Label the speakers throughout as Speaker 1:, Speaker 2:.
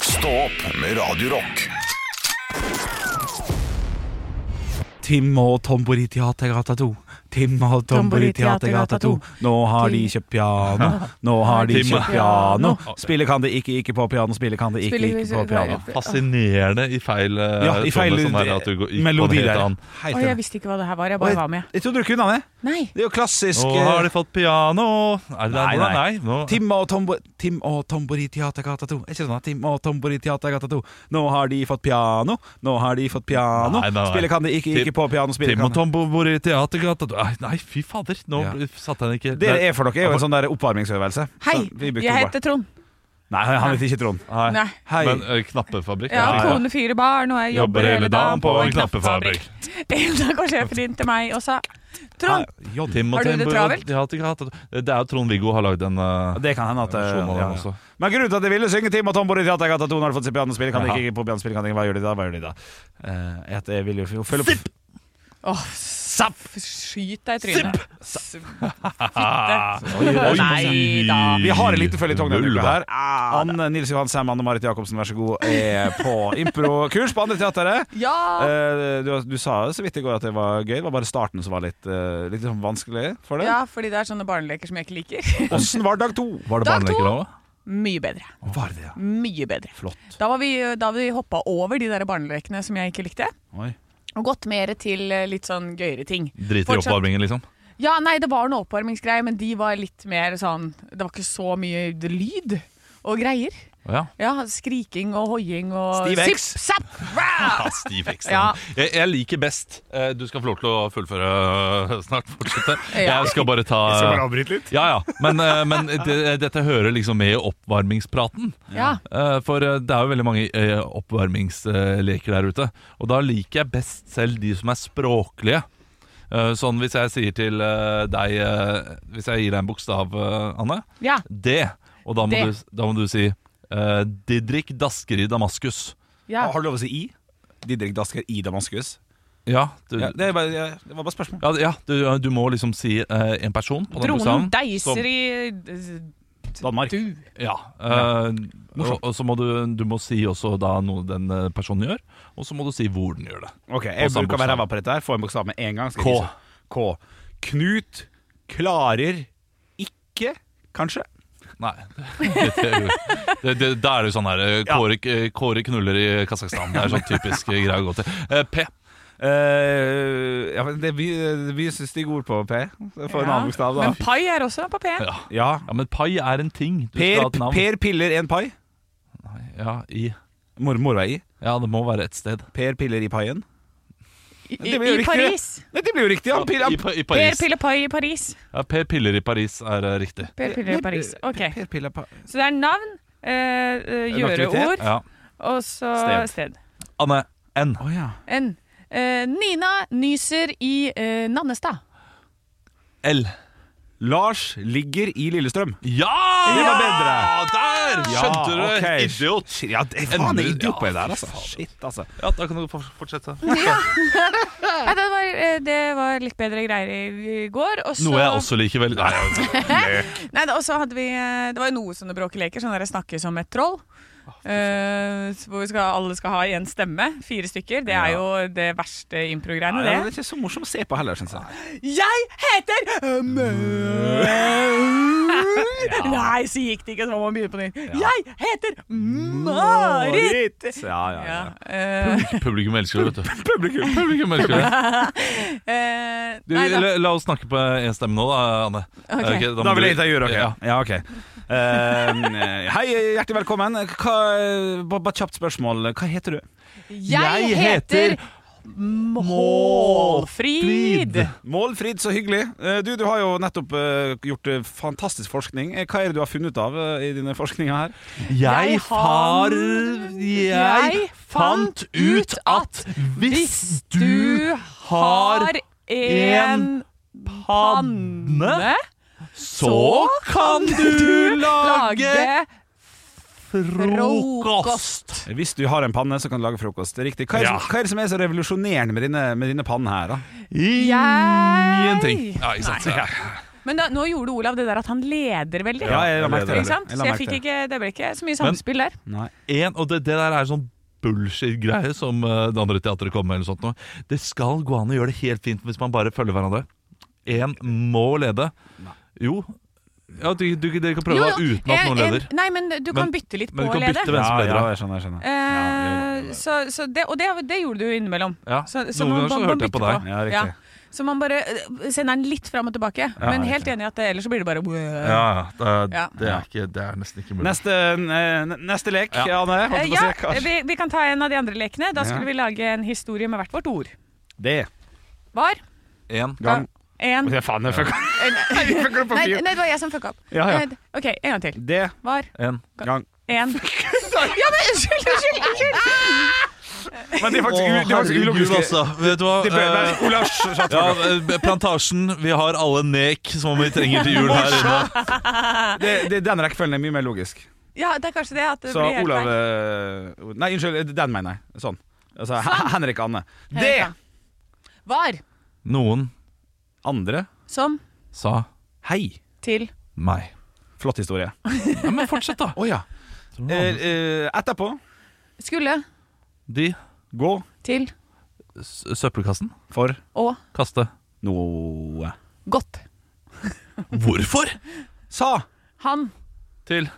Speaker 1: Stå opp med Radio Rock
Speaker 2: Tim og Tombori Teatergata 2. Tim og Tombori Teatergata 2. Nå har de kjøpt piano, nå har de
Speaker 3: Tim.
Speaker 2: kjøpt piano. Spille kan det ikke, ikke på piano, spille kan det ikke,
Speaker 4: Spille-
Speaker 2: ikke på piano.
Speaker 3: Fascinerende i feil eh,
Speaker 2: Ja, i feil
Speaker 3: tone, sånn her, at du går, gikk
Speaker 2: melodi
Speaker 3: på en helt
Speaker 2: der.
Speaker 3: annen.
Speaker 2: Hei,
Speaker 4: Oi,
Speaker 2: Tim.
Speaker 4: jeg visste ikke hva det her var. Jeg bare var med.
Speaker 2: Jeg trodde du kunne det.
Speaker 4: Nei.
Speaker 2: Det er jo klassisk.
Speaker 3: Nå har de fått piano Er det
Speaker 2: Nei,
Speaker 3: der? Nei,
Speaker 2: nei.
Speaker 3: nei. Nå,
Speaker 2: eh, Tim og, Tombo, Tim og Tombori Teatergata 2. Er ikke sånn? Tim og Tombori Teatergata 2. Nå har de fått piano, nå har de fått piano.
Speaker 3: Nei, nei, nei.
Speaker 2: Spille kan det ikke,
Speaker 3: Tim-
Speaker 2: ikke på piano, spille
Speaker 3: Tim og
Speaker 2: kan det.
Speaker 3: Tom bor i teatergata Nei, nei, fy fader. Nå
Speaker 2: Ja.
Speaker 3: satte han ikke
Speaker 2: Det er for dere er jo en sånn der oppvarmingsøvelse.
Speaker 4: Hei,
Speaker 2: Så vi bruker
Speaker 4: jeg
Speaker 2: bare-
Speaker 4: heter Trond.
Speaker 2: Nei, han heter ikke Trond.
Speaker 3: Nei.
Speaker 4: Nei.
Speaker 2: Hei.
Speaker 3: Men eh, knappefabrikk
Speaker 4: Jeg har
Speaker 3: nei,
Speaker 4: kone, fire barn, og jeg jobber hele dagen på en knappefabrikk. En dag kom sjefen inn til meg og sa Trond,
Speaker 2: Jon.
Speaker 3: Tim og
Speaker 4: Har du
Speaker 3: Tim
Speaker 4: det
Speaker 3: bor i
Speaker 4: travelt?
Speaker 3: teatergata. Det er jo Trond-Viggo har lagd en eh,
Speaker 2: Det kan hende at
Speaker 3: Ja, Schumann
Speaker 2: ja, ja.
Speaker 3: også.
Speaker 2: Men grunnen til at de ville synge Tim og Tombori Teatergata 2 når de fått se pianospill, kan de
Speaker 3: Ja.
Speaker 2: ikke på pianospill, kan de ikke Hva gjør de da? Hva gjør de da? Eh, jeg, jeg vil jo følge opp
Speaker 4: åh,
Speaker 2: Zapp!
Speaker 4: skyt deg i trynet. Fitte.
Speaker 3: oi.
Speaker 4: Nei da.
Speaker 2: Vi har en liten føljetong denne
Speaker 3: Null,
Speaker 2: uka
Speaker 3: da.
Speaker 2: her. Anne Nils Johan Sem, Anne Marit Jacobsen, vær så god, er på improkurs på andre teateret.
Speaker 4: Ja.
Speaker 2: Eh, du, du sa så vidt i går at det var gøy. Det var bare starten som var litt, eh, litt sånn vanskelig for deg.
Speaker 4: ja, fordi det er sånne barneleker som jeg ikke liker.
Speaker 2: Åssen var dag to?
Speaker 3: Var det
Speaker 4: Dag to.
Speaker 3: barneleker òg?
Speaker 4: Mye bedre.
Speaker 2: Var det, ja.
Speaker 4: Mye bedre.
Speaker 2: Flott.
Speaker 4: Da, var vi, da vi hoppa over de der barnelekene som jeg ikke likte,
Speaker 2: Oi.
Speaker 3: Eh,
Speaker 4: og gått mer til eh, litt sånn gøyere ting.
Speaker 3: Driter i
Speaker 4: Fortsatt.
Speaker 3: oppvarmingen, liksom?
Speaker 4: Ja, nei, det var noe oppvarmingsgreier, men de var litt mer sånn Det var ikke så mye lyd og greier.
Speaker 3: Ja.
Speaker 4: Ja, skriking og hoiing og
Speaker 2: Steve X.
Speaker 4: Zipp, zapp, rah!
Speaker 3: Ja, Stiv eksamen.
Speaker 4: Ja.
Speaker 3: Jeg, jeg liker best eh, Du skal få lov til å fullføre eh, snart. Fortsette.
Speaker 4: Ja.
Speaker 3: Jeg skal bare ta
Speaker 2: avbryte litt?
Speaker 3: Ja, ja. Men, eh, men det, dette hører liksom med i oppvarmingspraten.
Speaker 4: Ja.
Speaker 3: Eh, For eh, det er jo veldig mange eh, oppvarmingsleker der ute. Og da liker jeg best selv de som er språklige. Eh, Sånn hvis jeg sier til eh, deg eh, Hvis jeg gir deg en bokstav, eh, Anne.
Speaker 4: ja.
Speaker 3: Det. Og da må,
Speaker 4: Det.
Speaker 3: Du, da må du si eh, Didrik dasker i Damaskus.
Speaker 4: ja.
Speaker 2: Har du lov å si I? Didrik Dasker i Damaskus?
Speaker 3: Ja, du,
Speaker 2: Ja, det, er bare, ja, det var bare spørsmål.
Speaker 3: Ja, ja du, du må liksom si eh, en person på den
Speaker 4: Dronen
Speaker 3: bokstaven. som-
Speaker 4: deiser i
Speaker 2: Danmark.
Speaker 4: Du.
Speaker 3: Ja. eh, og, og så må du, du må si også da noe den eh, personen gjør, og så må du si hvor den gjør det.
Speaker 2: Ok, Jeg
Speaker 3: Og samme
Speaker 2: bruker å være
Speaker 3: bokstav.
Speaker 2: ræva på dette. her Få en bokstav med en gang. skal
Speaker 3: K.
Speaker 2: jeg vise. K. Knut klarer ikke, kanskje?
Speaker 3: Nei. det, det, da er det jo sånn her eh, Kåre, eh, Kåre knuller i Kasakhstan. Det er sånn typisk eh, greie å gå til. Eh, P.
Speaker 2: Eh, ja, men det er mye- det er mye stygge ord på P. Få en
Speaker 4: Ja.
Speaker 2: annen bokstav, da.
Speaker 4: Men pai er også på P.
Speaker 3: Ja.
Speaker 2: Ja.
Speaker 3: ja, men pai er en ting. Du skal
Speaker 2: Per,
Speaker 3: ha et navn.
Speaker 2: per piller en pai.
Speaker 3: Ja, i.
Speaker 2: Mormor var i.
Speaker 3: ja, det må være et sted.
Speaker 2: Per piller i paien.
Speaker 4: I,
Speaker 2: Det blir jo riktig,
Speaker 4: i, i
Speaker 2: det.
Speaker 4: Paris.
Speaker 2: Nei, det blir jo riktig! Han piller,
Speaker 3: I,
Speaker 2: han,
Speaker 3: pa- i
Speaker 4: Per
Speaker 3: Paris.
Speaker 4: Pille Pai i Paris.
Speaker 3: Ja, per Piller i Paris er eh, riktig.
Speaker 4: Per Pille i Paris. Ok,
Speaker 2: per piller pa
Speaker 4: Så det er navn, eh, eh,
Speaker 2: aktivitet,
Speaker 4: gjøreord,
Speaker 3: Ja.
Speaker 4: og så
Speaker 2: Sted.
Speaker 4: sted.
Speaker 3: Anne N.
Speaker 2: Å ja.
Speaker 4: N. Eh, Nina nyser i eh, Nannestad.
Speaker 3: L.
Speaker 2: Lars ligger i Lillestrøm.
Speaker 3: Ja!
Speaker 2: Det var bedre.
Speaker 3: Der! Skjønte du,
Speaker 2: Ja, ok.
Speaker 3: idiot.
Speaker 2: Ja, det- faen, jeg er idiot på det der,
Speaker 3: Ja,
Speaker 2: altså. Shit, altså.
Speaker 3: Ja, da kan du for- fortsette.
Speaker 4: Nei, det, var, eh, det var litt bedre greier i- i går. Og så,
Speaker 3: Noe jeg også liker veldig. Nei, altså,
Speaker 4: Nei, da- og så hadde vi eh, Det var jo noe sånne bråkeleker. Sånn der snakke som et troll. Eh, hvor vi skal, alle skal ha én stemme. Fire stykker. Det er jo det verste
Speaker 2: Nei,
Speaker 4: impro-greiene,
Speaker 2: det er
Speaker 4: det.
Speaker 2: ikke så morsomt å se på heller, syns jeg.
Speaker 4: Jeg heter eh, Maul. Nei, så gikk det ikke. Så må man begynne på nytt. Jeg heter Marit.
Speaker 2: Ja, ja, ja.
Speaker 4: Ja, eh,
Speaker 3: Publikum elsker det, vet du. Publikum, elsker det.
Speaker 4: eh,
Speaker 3: Du,
Speaker 4: nei, da.
Speaker 3: la, la oss snakke på én stemme nå, da, Anne.
Speaker 4: Ok.
Speaker 3: Ok, må
Speaker 2: Da vil
Speaker 3: du-
Speaker 2: jeg intervjue dere.
Speaker 3: Ja.
Speaker 2: Ja, ok. Eh, hei, hjertelig velkommen. Hva, bare bare et kjapt spørsmål. Hva heter du?
Speaker 4: Jeg, heter Målfrid.
Speaker 2: Målfrid, så hyggelig. Eh, du, du har jo nettopp eh, gjort eh, fantastisk forskning. Eh, Hva er det du har funnet ut av eh, i dine forskninger her?
Speaker 3: Jeg
Speaker 4: har-
Speaker 3: far... Jeg fant ut at hvis du har en panne, så kan du lage frokost.
Speaker 2: Eh, Hvis du har en panne, så kan du lage frokost. Det er Riktig. Hva er, det som, hva er det som er så revolusjonerende med dine, med dine panner her, da?
Speaker 3: Ingenting. Ja, ikke sant. Ja.
Speaker 4: Men da, nå gjorde Olav det der at han leder veldig.
Speaker 2: Ja, jeg la merke til det.
Speaker 4: Ikke sant?
Speaker 2: Jeg
Speaker 4: Så
Speaker 2: la
Speaker 4: jeg
Speaker 2: merke
Speaker 4: fikk
Speaker 2: til det.
Speaker 4: ikke, det ble ikke så mye samspill der.
Speaker 2: Nei.
Speaker 3: En, og det, det der er sånn bullshit-greie som eh, det andre teatret kommer med. eller sånt nå. Det skal gå an å gjøre det helt fint hvis man bare følger hverandre. Én må lede. Jo. Ja, du, du, dere kan prøve
Speaker 4: Jo,
Speaker 3: da
Speaker 4: jo,
Speaker 3: uten at
Speaker 4: jeg-
Speaker 3: noen
Speaker 4: jeg-
Speaker 3: leder.
Speaker 4: Nei, men du kan
Speaker 3: Men-
Speaker 4: bytte litt
Speaker 3: men
Speaker 4: på
Speaker 3: du
Speaker 4: å
Speaker 3: kan
Speaker 4: lede.
Speaker 3: bytte hvem som
Speaker 2: Ja,
Speaker 3: leder.
Speaker 2: ja, jeg skjønner, jeg skjønner.
Speaker 4: Eh, så, så det, og det, det gjorde du innimellom.
Speaker 3: Ja,
Speaker 4: Så, så
Speaker 3: noen
Speaker 4: man-
Speaker 3: ganger så
Speaker 4: man- man
Speaker 3: hørte jeg på
Speaker 4: bytter
Speaker 3: deg.
Speaker 2: Ja, riktig.
Speaker 4: Så man bare eh, sender den litt fram og tilbake. men helt
Speaker 2: riktig.
Speaker 4: enig i at det, ellers så blir det bare
Speaker 3: Ja, det,
Speaker 4: Ja.
Speaker 3: det, er ikke, det er nesten ikke mulig.
Speaker 2: Neste, eh, neste lek,
Speaker 3: Ja.
Speaker 2: Anne. holdt
Speaker 4: Eh,
Speaker 2: jeg på å
Speaker 4: Ja,
Speaker 2: si. Kanskje.
Speaker 4: vi, vi kan ta en av de andre lekene. Da skulle
Speaker 2: Ja.
Speaker 4: vi lage en historie med hvert vårt ord.
Speaker 2: Det.
Speaker 4: Var
Speaker 3: En.
Speaker 2: Gang.
Speaker 4: en
Speaker 2: Ja, faen, jeg fucka
Speaker 4: Nei,
Speaker 2: jeg fucka på
Speaker 4: nei,
Speaker 2: fyr.
Speaker 4: det var jeg som fucka opp.
Speaker 2: Ja, ja.
Speaker 4: Eh, OK, en gang til.
Speaker 2: Det.
Speaker 4: Var
Speaker 3: en.
Speaker 2: Gang.
Speaker 4: en Ja, men unnskyld, unnskyld! unnskyld.
Speaker 2: Men det er faktisk, u- det er faktisk ulogisk.
Speaker 3: Vet du hva?
Speaker 2: Det bør
Speaker 3: Eh,
Speaker 2: være Olav Sjatvåg.
Speaker 3: ja, eh, plantasjen, vi har alle nek som vi trenger til jul her inne.
Speaker 2: Det- det- Den rekkefølgen er mye mer logisk.
Speaker 4: Ja, det er kanskje det. At det
Speaker 2: Så
Speaker 4: blir helt
Speaker 2: Olav
Speaker 4: feil.
Speaker 2: eh, Nei, unnskyld. Den mener jeg. Sånn. Altså, Hen- Henrik Anne. Det
Speaker 4: Henrik, da. Var
Speaker 3: Noen
Speaker 2: andre
Speaker 4: som
Speaker 3: sa
Speaker 2: Hei.
Speaker 4: til
Speaker 3: meg.
Speaker 2: Flott historie.
Speaker 3: Ja, men fortsett, da.
Speaker 2: Å ja. Eh, eh, etterpå
Speaker 4: skulle
Speaker 3: De
Speaker 2: gå
Speaker 4: til
Speaker 3: s- søppelkassen
Speaker 2: for
Speaker 4: og
Speaker 3: kaste
Speaker 2: noe.
Speaker 4: godt.
Speaker 3: Hvorfor?
Speaker 2: Sa
Speaker 4: Han
Speaker 3: Til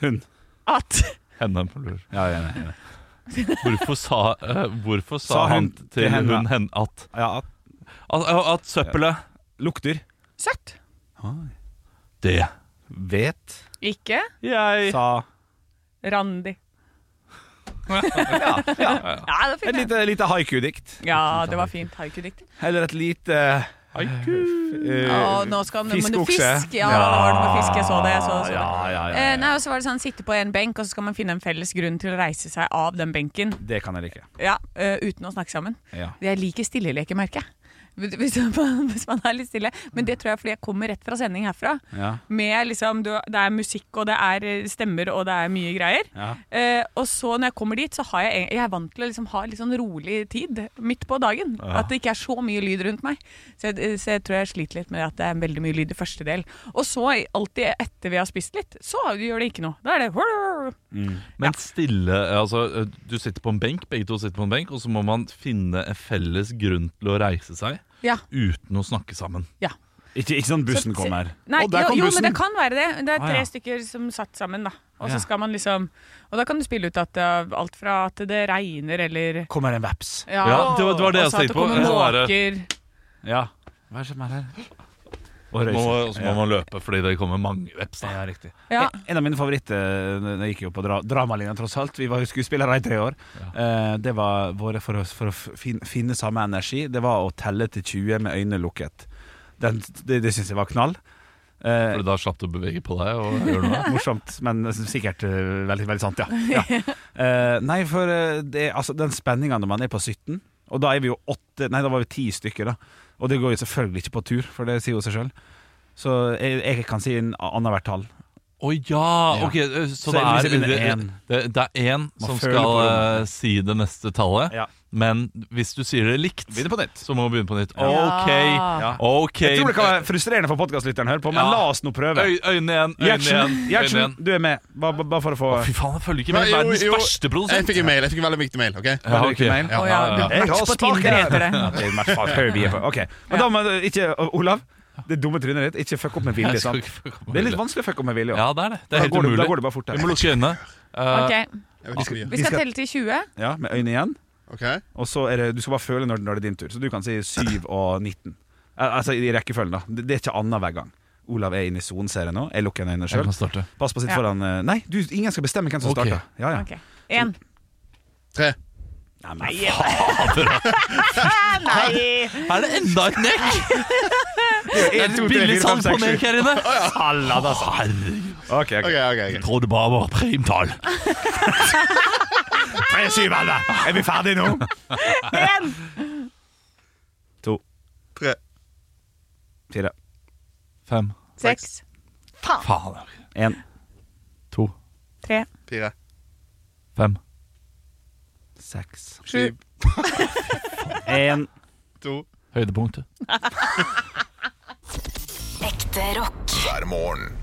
Speaker 2: hun.
Speaker 4: at
Speaker 3: henne.
Speaker 2: Ja, ja, ja, ja.
Speaker 3: Hvorfor sa, eh, hvorfor sa,
Speaker 2: Sa hun
Speaker 3: han til,
Speaker 2: til henne.
Speaker 3: hun hen at,
Speaker 2: ja at
Speaker 3: at, at søppelet
Speaker 2: lukter
Speaker 4: Søtt.
Speaker 3: Det
Speaker 2: Vet
Speaker 4: Ikke
Speaker 3: jeg
Speaker 2: Sa
Speaker 4: Randi.
Speaker 2: Ja, ja.
Speaker 4: Ja, det
Speaker 2: Et
Speaker 4: fikk jeg.
Speaker 2: lite, lite haiku-dikt.
Speaker 4: Ja, det var fint. Haikudikt.
Speaker 2: Eller et lite eh, Haiku
Speaker 4: Å, nå skal nå må du
Speaker 2: Eh, Fiskokse.
Speaker 4: fiske. Ja, det var noe med fisk. Jeg så det. Jeg så, så det.
Speaker 2: Ah, Ja, ja, ja,
Speaker 4: Eh,
Speaker 2: ja,
Speaker 4: Nei, og så var det sånn Sitte på en benk, og så skal man finne en felles grunn til å reise seg av den benken.
Speaker 2: Det kan jeg like.
Speaker 4: Ja, eh, Uten å snakke sammen.
Speaker 2: Ja.
Speaker 4: Jeg liker stilleleker, merker jeg. Hvis man, hvis man er litt stille. Men det tror jeg er fordi jeg kommer rett fra sending herfra.
Speaker 2: Ja.
Speaker 4: Med liksom, du- Det er musikk, og det er eh, stemmer, og det er mye greier.
Speaker 2: Ja.
Speaker 4: Eh, og så når jeg kommer dit, så har jeg, en- jeg er vant til å liksom ha litt sånn rolig tid midt på dagen. At det ikke er så mye lyd rundt meg. Så jeg, eh, så jeg tror jeg sliter litt med at det er veldig mye lyd i første del. Og så i- alltid etter vi har spist litt, så gjør det ikke noe. Da er det
Speaker 3: Men stille altså, eh, Du sitter på en benk, begge to sitter på en benk, og så må man finne en felles grunn til å reise seg
Speaker 4: Ja.
Speaker 3: uten å snakke sammen.
Speaker 4: ja.
Speaker 2: Ikke, ikke sånn bussen
Speaker 4: Så-
Speaker 2: kommer.
Speaker 4: Nei,
Speaker 2: Å, der
Speaker 4: jo,
Speaker 2: kom
Speaker 4: jo,
Speaker 2: bussen!
Speaker 4: men det kan være det. Det er
Speaker 2: Ah,
Speaker 4: tre
Speaker 2: ja.
Speaker 4: stykker som satt sammen, da. Og
Speaker 2: Ja.
Speaker 4: så skal man liksom Og da kan du spille ut at uh, alt fra at det regner eller
Speaker 2: Kommer en veps.
Speaker 4: Ja,
Speaker 3: Ja, det var- det var det
Speaker 4: og
Speaker 3: jeg
Speaker 4: så at
Speaker 3: tenkte på.
Speaker 4: kommer
Speaker 3: Sånn der-
Speaker 4: måker.
Speaker 2: Ja. Hva er det som er her? Og
Speaker 3: Nå, og så må
Speaker 2: Ja.
Speaker 3: man løpe fordi det kommer mange veps. da.
Speaker 2: Ja, riktig.
Speaker 4: Ja.
Speaker 2: En- En av mine favoritter Jeg gikk jo på dra dramalinja, tross alt. Vi var jo skuespillere i tre år. Eh, det var våre for å, for å fin, finne samme energi. Det var å telle til 20 med øynene lukket. Den, det det syns jeg var knall. Eh,
Speaker 3: Fordi da slapp du å bevege på deg og gjøre noe.
Speaker 2: Morsomt, men sikkert eh, veldig, veldig sant, ja. ja. Eh, nei, for eh, det, altså, den spenninga når man er på 17, og da er vi jo åtte Nei, da var vi ti stykker, da. Og det går jo selvfølgelig ikke på tur, for det sier jo seg sjøl. Så jeg, jeg kan si en annethvert tall.
Speaker 3: Å ja!
Speaker 2: Ja.
Speaker 3: Ok, eh, så,
Speaker 2: Så
Speaker 3: det
Speaker 2: hvis
Speaker 3: er
Speaker 2: jeg begynner
Speaker 3: det,
Speaker 2: en.
Speaker 3: det, det er én
Speaker 2: Man
Speaker 3: som
Speaker 2: føler
Speaker 3: skal
Speaker 2: på rommet.
Speaker 3: eh, si det neste tallet,
Speaker 2: Ja.
Speaker 3: men hvis du sier det likt,
Speaker 2: Begynner på nytt.
Speaker 3: så må vi begynne på nytt.
Speaker 4: Ja.
Speaker 3: Ok, ok
Speaker 2: Jeg tror det kan være frustrerende for podkastlytteren å høre på, men
Speaker 3: Ja.
Speaker 2: la oss nå prøve.
Speaker 3: Øy, Øynene igjen, øynene igjen.
Speaker 2: Gjertsen,
Speaker 3: Øynene
Speaker 2: Gjertsen,
Speaker 3: igjen.
Speaker 2: du er med. Bare, bare- bare for å få
Speaker 3: Fy faen, jeg følger ikke med.
Speaker 5: Nei, jo,
Speaker 3: Verdens
Speaker 5: jo.
Speaker 3: verste
Speaker 5: Jeg
Speaker 3: produsent.
Speaker 5: fikk en mail. Jeg fikk en veldig viktig mail. ok?
Speaker 3: Ja,
Speaker 2: Følger du
Speaker 3: ok.
Speaker 2: ikke med?
Speaker 3: Ja,
Speaker 4: Å
Speaker 3: ja,
Speaker 4: ja,
Speaker 3: ja.
Speaker 4: du- Match på Tinder heter
Speaker 2: det.
Speaker 4: det.
Speaker 2: er match på Tinder. Ok, men da må du ikke Olav, det dumme trynet ditt, ikke fuck opp med vilje.
Speaker 3: Jeg skal
Speaker 2: sant?
Speaker 3: ikke fucke opp
Speaker 2: liksom.
Speaker 3: med
Speaker 2: Det er litt
Speaker 3: vilje.
Speaker 2: vanskelig å fucke opp med vilje.
Speaker 3: Ja, det er det. Det er
Speaker 2: da,
Speaker 3: helt
Speaker 2: går det, da
Speaker 3: umulig.
Speaker 2: går det bare fort.
Speaker 3: Vi
Speaker 2: her.
Speaker 3: må lukke øynene. Eh,
Speaker 4: Ok,
Speaker 5: Jeg vet ikke
Speaker 4: Vi skal telle til 20.
Speaker 2: Ja, Med øynene igjen.
Speaker 5: Ok,
Speaker 2: Og så er det, Du skal bare føle når, når det er din tur. Så du kan si 7 og 19. Al- Altså i rekkefølgen, da. Det, det er ikke annet hver gang. Olav er inne i sonen-serien nå. Jeg lukker øynene
Speaker 3: Jeg
Speaker 2: sjøl.
Speaker 3: kan starte.
Speaker 2: Pass på å sitte
Speaker 4: Ja.
Speaker 2: foran eh, Nei, du, ingen skal bestemme hvem som
Speaker 3: Ok.
Speaker 2: starter. Ja, ja.
Speaker 4: Ok, Én.
Speaker 5: Tre.
Speaker 2: Nei, men,
Speaker 4: Nei!
Speaker 3: Er det enda et nek? Det er
Speaker 2: to, tre,
Speaker 3: billig
Speaker 2: fire, fem,
Speaker 3: salg på
Speaker 2: seks, sju.
Speaker 3: nek her inne. Salat, altså. Herregud.
Speaker 2: Ok,
Speaker 5: Ok,
Speaker 2: ok
Speaker 5: ok, ok.
Speaker 3: Trodde bare var primtall.
Speaker 2: Tre, syv, alle. Er vi ferdige nå?
Speaker 4: Én!
Speaker 2: To,
Speaker 5: Tre.
Speaker 2: fire,
Speaker 3: Fem.
Speaker 4: Seks.
Speaker 3: Faen.
Speaker 2: én,
Speaker 3: To.
Speaker 4: Tre.
Speaker 5: Fire.
Speaker 3: Fem.
Speaker 2: seks,
Speaker 5: Sju.
Speaker 2: én.
Speaker 5: To.
Speaker 3: Høydepunktet.
Speaker 6: Ekte Ekte rock.
Speaker 1: hver morgen.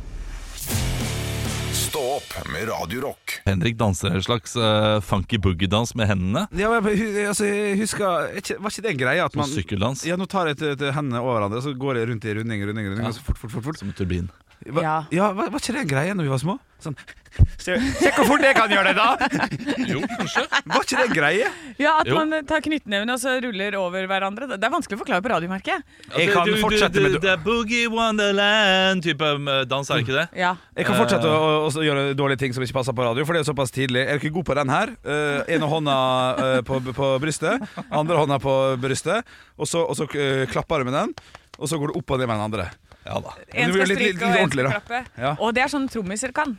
Speaker 1: Stå opp med Radio Rock.
Speaker 3: Henrik danser en slags eh, funky boogie-dans med hendene.
Speaker 2: Ja, men jeg, hu- altså, jeg husker ikke, Var ikke det en greie at
Speaker 3: Som
Speaker 2: man
Speaker 3: sykkeldans.
Speaker 2: Ja, nå tar jeg et, et hendene over hverandre, og så går jeg rundt i runding, runding, runding, og så fort, fort, fort, fort.
Speaker 3: Som en turbin.
Speaker 2: Hva, ja,
Speaker 4: Ja.
Speaker 2: var, var ikke det en greie når vi var små? Sånn Se, se hvor fort jeg kan gjøre det, da!
Speaker 3: Jo, kanskje.
Speaker 2: Var ikke det en greie?
Speaker 4: Ja, At
Speaker 3: Jo.
Speaker 4: man eh, tar knyttneven og så ruller over hverandre. Det det er vanskelig å forklare på radio, merker jeg.
Speaker 3: Altså,
Speaker 2: Jeg kan fortsette med
Speaker 3: Det er boogie wonderland-type dans, er det ikke det?
Speaker 4: Ja.
Speaker 2: Jeg kan fortsette
Speaker 3: Eh.
Speaker 2: å, å, å gjøre dårlige ting som ikke passer på radio, for det er jo såpass tidlig. Er du ikke god på den her? Uh, ene hånda eh, på, på brystet, andre hånda på brystet, og så, og så eh, klapper du med den, og så går du opp og ned med den andre.
Speaker 3: Ja da.
Speaker 2: Men det blir
Speaker 4: En skal
Speaker 2: litt- litt- litt
Speaker 4: stryke, og en skal
Speaker 2: ordentlig,
Speaker 4: klappe.
Speaker 2: Ja.
Speaker 4: Og det er sånn trommiser kan.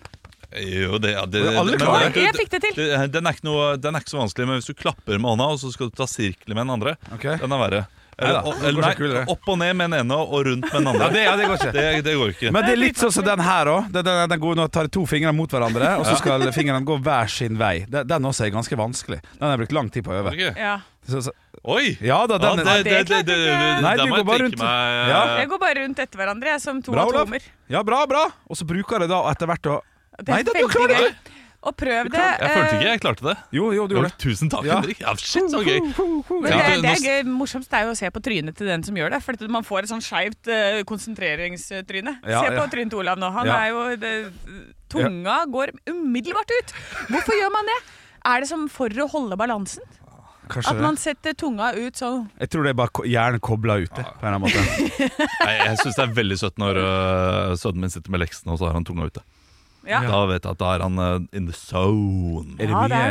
Speaker 3: Jo, det, ja, det,
Speaker 2: Men alle
Speaker 3: men-
Speaker 2: klarer
Speaker 4: det. Jeg fikk det til.
Speaker 3: Den er, ikke noe, den er ikke så vanskelig, men hvis du klapper med hånda, og så skal du ta sirkelen med den andre,
Speaker 2: Ok.
Speaker 3: den er verre.
Speaker 2: Neida,
Speaker 3: Eller,
Speaker 2: det går
Speaker 3: eller, nei,
Speaker 2: så kult, det.
Speaker 3: opp og ned med den ene og rundt med den andre.
Speaker 2: Ja, det- ja, det går ikke.
Speaker 3: Det, det går ikke.
Speaker 2: Men det er litt sånn som den her òg. Den, den, den går, nå tar jeg to fingre mot hverandre, og så skal fingrene gå hver sin vei. Den, den også er ganske vanskelig. Den har jeg brukt lang tid på å øve.
Speaker 3: Ok.
Speaker 4: Ja.
Speaker 2: Så, så,
Speaker 3: Oi!
Speaker 2: ja da, den
Speaker 3: ja, det, det,
Speaker 4: det
Speaker 3: det,
Speaker 4: klarte
Speaker 3: det,
Speaker 4: ikke.
Speaker 2: Nei,
Speaker 3: der
Speaker 2: du
Speaker 3: må jeg
Speaker 2: går bare
Speaker 3: tenke
Speaker 2: rundt.
Speaker 3: meg
Speaker 2: Ja.
Speaker 3: eh,
Speaker 4: Jeg går bare rundt etter hverandre, jeg, som to
Speaker 2: Bra, Olav.
Speaker 4: atomer.
Speaker 2: Ja, bra, bra. Og så bruker jeg det da etter hvert å
Speaker 4: Det
Speaker 2: Nei, da, du
Speaker 4: veldig
Speaker 2: klarer det.
Speaker 4: gøy. Og prøv det.
Speaker 3: Jeg følte
Speaker 4: eh,
Speaker 3: ikke jeg klarte det.
Speaker 2: Jo, jo, du gjorde det.
Speaker 3: Tusen takk,
Speaker 2: Ja.
Speaker 3: Henrik. Ja, shit, så gøy.
Speaker 4: Men
Speaker 3: Ja.
Speaker 4: det, det
Speaker 3: Nå-
Speaker 4: er gøy. morsomst er jo å se på trynet til den som gjør det. For at man får et sånn skeivt eh, konsentreringstryne.
Speaker 2: Ja,
Speaker 4: se på
Speaker 2: ja.
Speaker 4: trynet til Olav nå. Han
Speaker 2: Ja.
Speaker 4: er jo det, Tunga går umiddelbart ut. Hvorfor gjør man det? Er det som for å holde balansen?
Speaker 2: Kanskje
Speaker 4: At
Speaker 2: det.
Speaker 4: man setter tunga ut sånn?
Speaker 2: Jeg tror det er bare ko- hjernen kobla ut, det, på en eller annen måte.
Speaker 3: Nei, jeg syns det er veldig søtt når øh, sønnen min sitter med leksene, og så har han tunga ute.
Speaker 4: Ja.
Speaker 3: Da vet jeg at da er han øh, in the zone.
Speaker 2: Er det
Speaker 4: Ja, det
Speaker 2: mye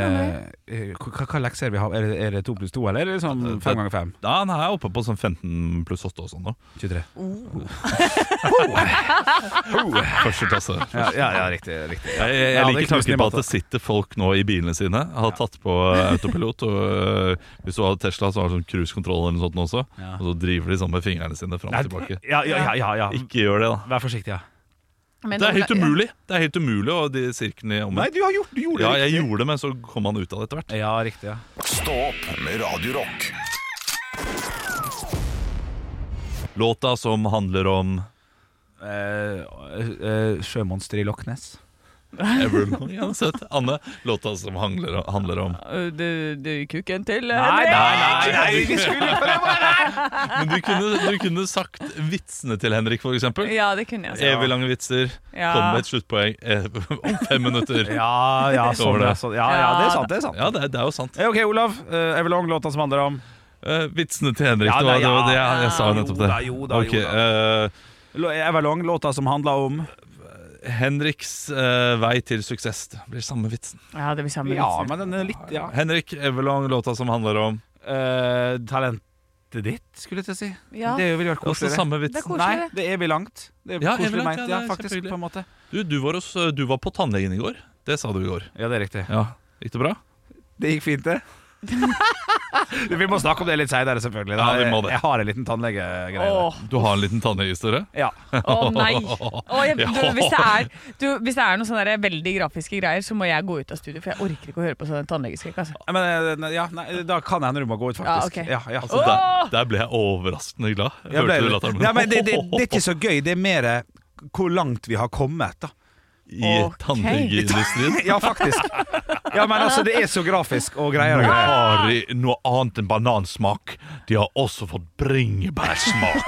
Speaker 4: er
Speaker 2: eh, Hva, hva lekser er det vi har? Er det, er det to pluss to, eller er det sånn fem ganger fem?
Speaker 3: Ja, han er oppe på sånn 15 pluss 8 og sånn. da
Speaker 2: 23.
Speaker 3: Første klasse.
Speaker 2: Oh. Ja, ja, ja riktig. riktig.
Speaker 3: Jeg,
Speaker 2: Ja,
Speaker 3: jeg, jeg
Speaker 2: det
Speaker 3: liker
Speaker 2: knuste i
Speaker 3: tanken på at
Speaker 2: maten.
Speaker 3: det sitter folk nå i bilene sine, har tatt på øh, autopilot. Og øh, Hvis du hadde Tesla, så har du sånn cruisekontroll eller noe sånt nå også.
Speaker 2: Ja.
Speaker 3: Og så driver de sånn med fingrene sine fram
Speaker 2: Nei,
Speaker 3: og tilbake.
Speaker 2: Ja, ja, ja, ja, ja.
Speaker 3: Ikke gjør det, da.
Speaker 2: Vær forsiktig, ja.
Speaker 4: Men
Speaker 3: Det er
Speaker 4: Ola-
Speaker 3: helt umulig Det er helt umulig å de sirklene om
Speaker 2: Nei, du har gjort, du gjorde
Speaker 3: Ja,
Speaker 2: det
Speaker 3: jeg
Speaker 2: riktig.
Speaker 3: gjorde det, men så kom han ut av det etter hvert.
Speaker 2: Ja, riktig, ja.
Speaker 1: Stå opp med Radio Rock
Speaker 3: Låta som handler om
Speaker 2: Eh, eh, Sjømonster i Loch Ness.
Speaker 3: Evermore. Ja, søt. Anne, låta som handler om, handler om.
Speaker 4: Øh, Du, du kuken til
Speaker 2: Nei,
Speaker 4: Henrik.
Speaker 2: nei, nei, vi skulle
Speaker 3: Men du kunne, du kunne sagt vitsene til Henrik, for eksempel.
Speaker 4: Ja, det kunne jeg.
Speaker 3: Evig lange vitser.
Speaker 4: Ja.
Speaker 3: Kom med et sluttpoeng eh, om fem minutter.
Speaker 2: Ja, ja,
Speaker 3: Så var
Speaker 2: sånn, ja, sånn.
Speaker 3: det.
Speaker 2: ja, ja, det er sant, det er sant.
Speaker 3: Ja, det, er- det er jo sant.
Speaker 2: Eh, Ok, Olav. eh, Everlong, låta som handler om
Speaker 3: Eh, vitsene til Henrik,
Speaker 2: Ja,
Speaker 3: det var
Speaker 2: nei,
Speaker 3: det, var det
Speaker 2: ja,
Speaker 3: jeg, jeg sa
Speaker 2: ja, jo
Speaker 3: nettopp det.
Speaker 2: da, jo da, jo
Speaker 3: Ok, eh,
Speaker 2: Lo- Everlong, låta som handler om
Speaker 3: Henriks eh, vei til suksess. Det blir samme vitsen.
Speaker 4: sa. Ja, det blir samme
Speaker 2: Ja,
Speaker 4: vitser.
Speaker 2: men den er litt ja.
Speaker 3: Henrik Everlong, låta som handler om
Speaker 2: Eh, Talentet ditt, skulle jeg til å si.
Speaker 4: Ja.
Speaker 2: Det vil være
Speaker 3: Også
Speaker 2: koseligere.
Speaker 3: samme
Speaker 4: Det er
Speaker 3: vits.
Speaker 4: koselig.
Speaker 2: Nei, det er evig langt. Det er
Speaker 3: Ja, evig
Speaker 2: koselig
Speaker 3: langt,
Speaker 2: meint,
Speaker 3: ja,
Speaker 2: ja,
Speaker 3: det er
Speaker 2: faktisk,
Speaker 3: selvfølgelig.
Speaker 2: på en måte.
Speaker 3: Du, du, var hos, eh, du var på tannlegen i går. Det sa du i går.
Speaker 2: Ja, det er riktig.
Speaker 3: Ja, Gikk det bra?
Speaker 2: Det gikk fint, det. vi må snakke om det litt seinere, selvfølgelig. Da.
Speaker 3: Ja, vi må det.
Speaker 2: Jeg har en liten tannlegegreie. der.
Speaker 4: Åh.
Speaker 3: Du har en liten tannlegehistorie?
Speaker 2: Ja.
Speaker 4: Å nei! Å, jeg, du, hvis, det er, du, hvis det er noen sånne der veldig grafiske greier, så må jeg gå ut av studio, for jeg orker ikke å høre på sånn tannlegeskrekk. Altså.
Speaker 2: Nei, Men, eh, ja, nei, da kan det hende du må gå ut, faktisk.
Speaker 4: Ja, ok.
Speaker 2: ja, ja.
Speaker 3: Altså, der, der ble jeg overraskende glad.
Speaker 2: Jeg ble-
Speaker 3: Hørte du latteren min?
Speaker 2: Ja, men det, det, det er ikke så gøy. Det er mer eh, hvor langt vi har kommet, da.
Speaker 3: I
Speaker 4: Ok.
Speaker 3: tannlegeindustrien.
Speaker 2: Ja, faktisk. Ja, men altså, det er så grafisk og greier og
Speaker 3: Nå
Speaker 2: greier.
Speaker 3: har de noe annet enn banansmak. De har også fått bringebærsmak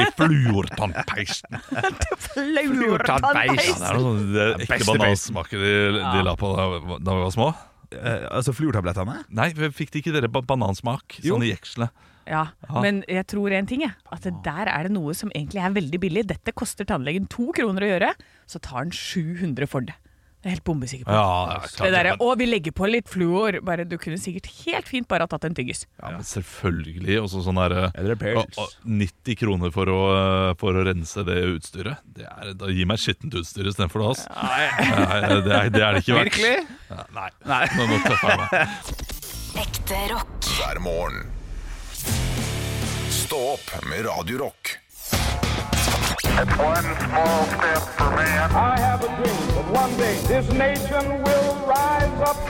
Speaker 3: i fluortannpeisen.
Speaker 2: Fluortannpeis.
Speaker 3: Ja, det er noe sånn det
Speaker 2: Den
Speaker 3: ekte
Speaker 2: beste
Speaker 3: banansmaket de, de la på da, da vi var små.
Speaker 2: Eh, altså fluortablettene?
Speaker 3: Nei, fikk de ikke dere ba- banansmak?
Speaker 2: Jo.
Speaker 3: Sånn i jekslene.
Speaker 4: Ja, men jeg tror en ting, jeg. At det der er det noe som egentlig er veldig billig. Dette koster tannlegen to kroner å gjøre, så tar han 700 for det. Det er jeg helt bombesikker på.
Speaker 3: Ja, ja, klart
Speaker 4: Det derre
Speaker 3: men-
Speaker 4: 'å, vi legger på litt fluor'. Bare, du kunne sikkert helt fint bare ha tatt en tyggis.
Speaker 3: Ja, men selvfølgelig. Og så sånn der eh,
Speaker 2: Eller pils.
Speaker 3: å- å, 90 kroner for å, eh, for å rense det utstyret. Det er, da Gi meg skittent utstyr istedenfor det, altså. Nei, det, er, det er det ikke verdt.
Speaker 2: Virkelig?
Speaker 3: Ja, Nei. Nå, nå tøffer jeg meg.
Speaker 6: Ekte rock.
Speaker 1: hver morgen. Stå opp med Radio Rock.
Speaker 7: One small step for man.
Speaker 8: I have a dream that one day this nation will rise up.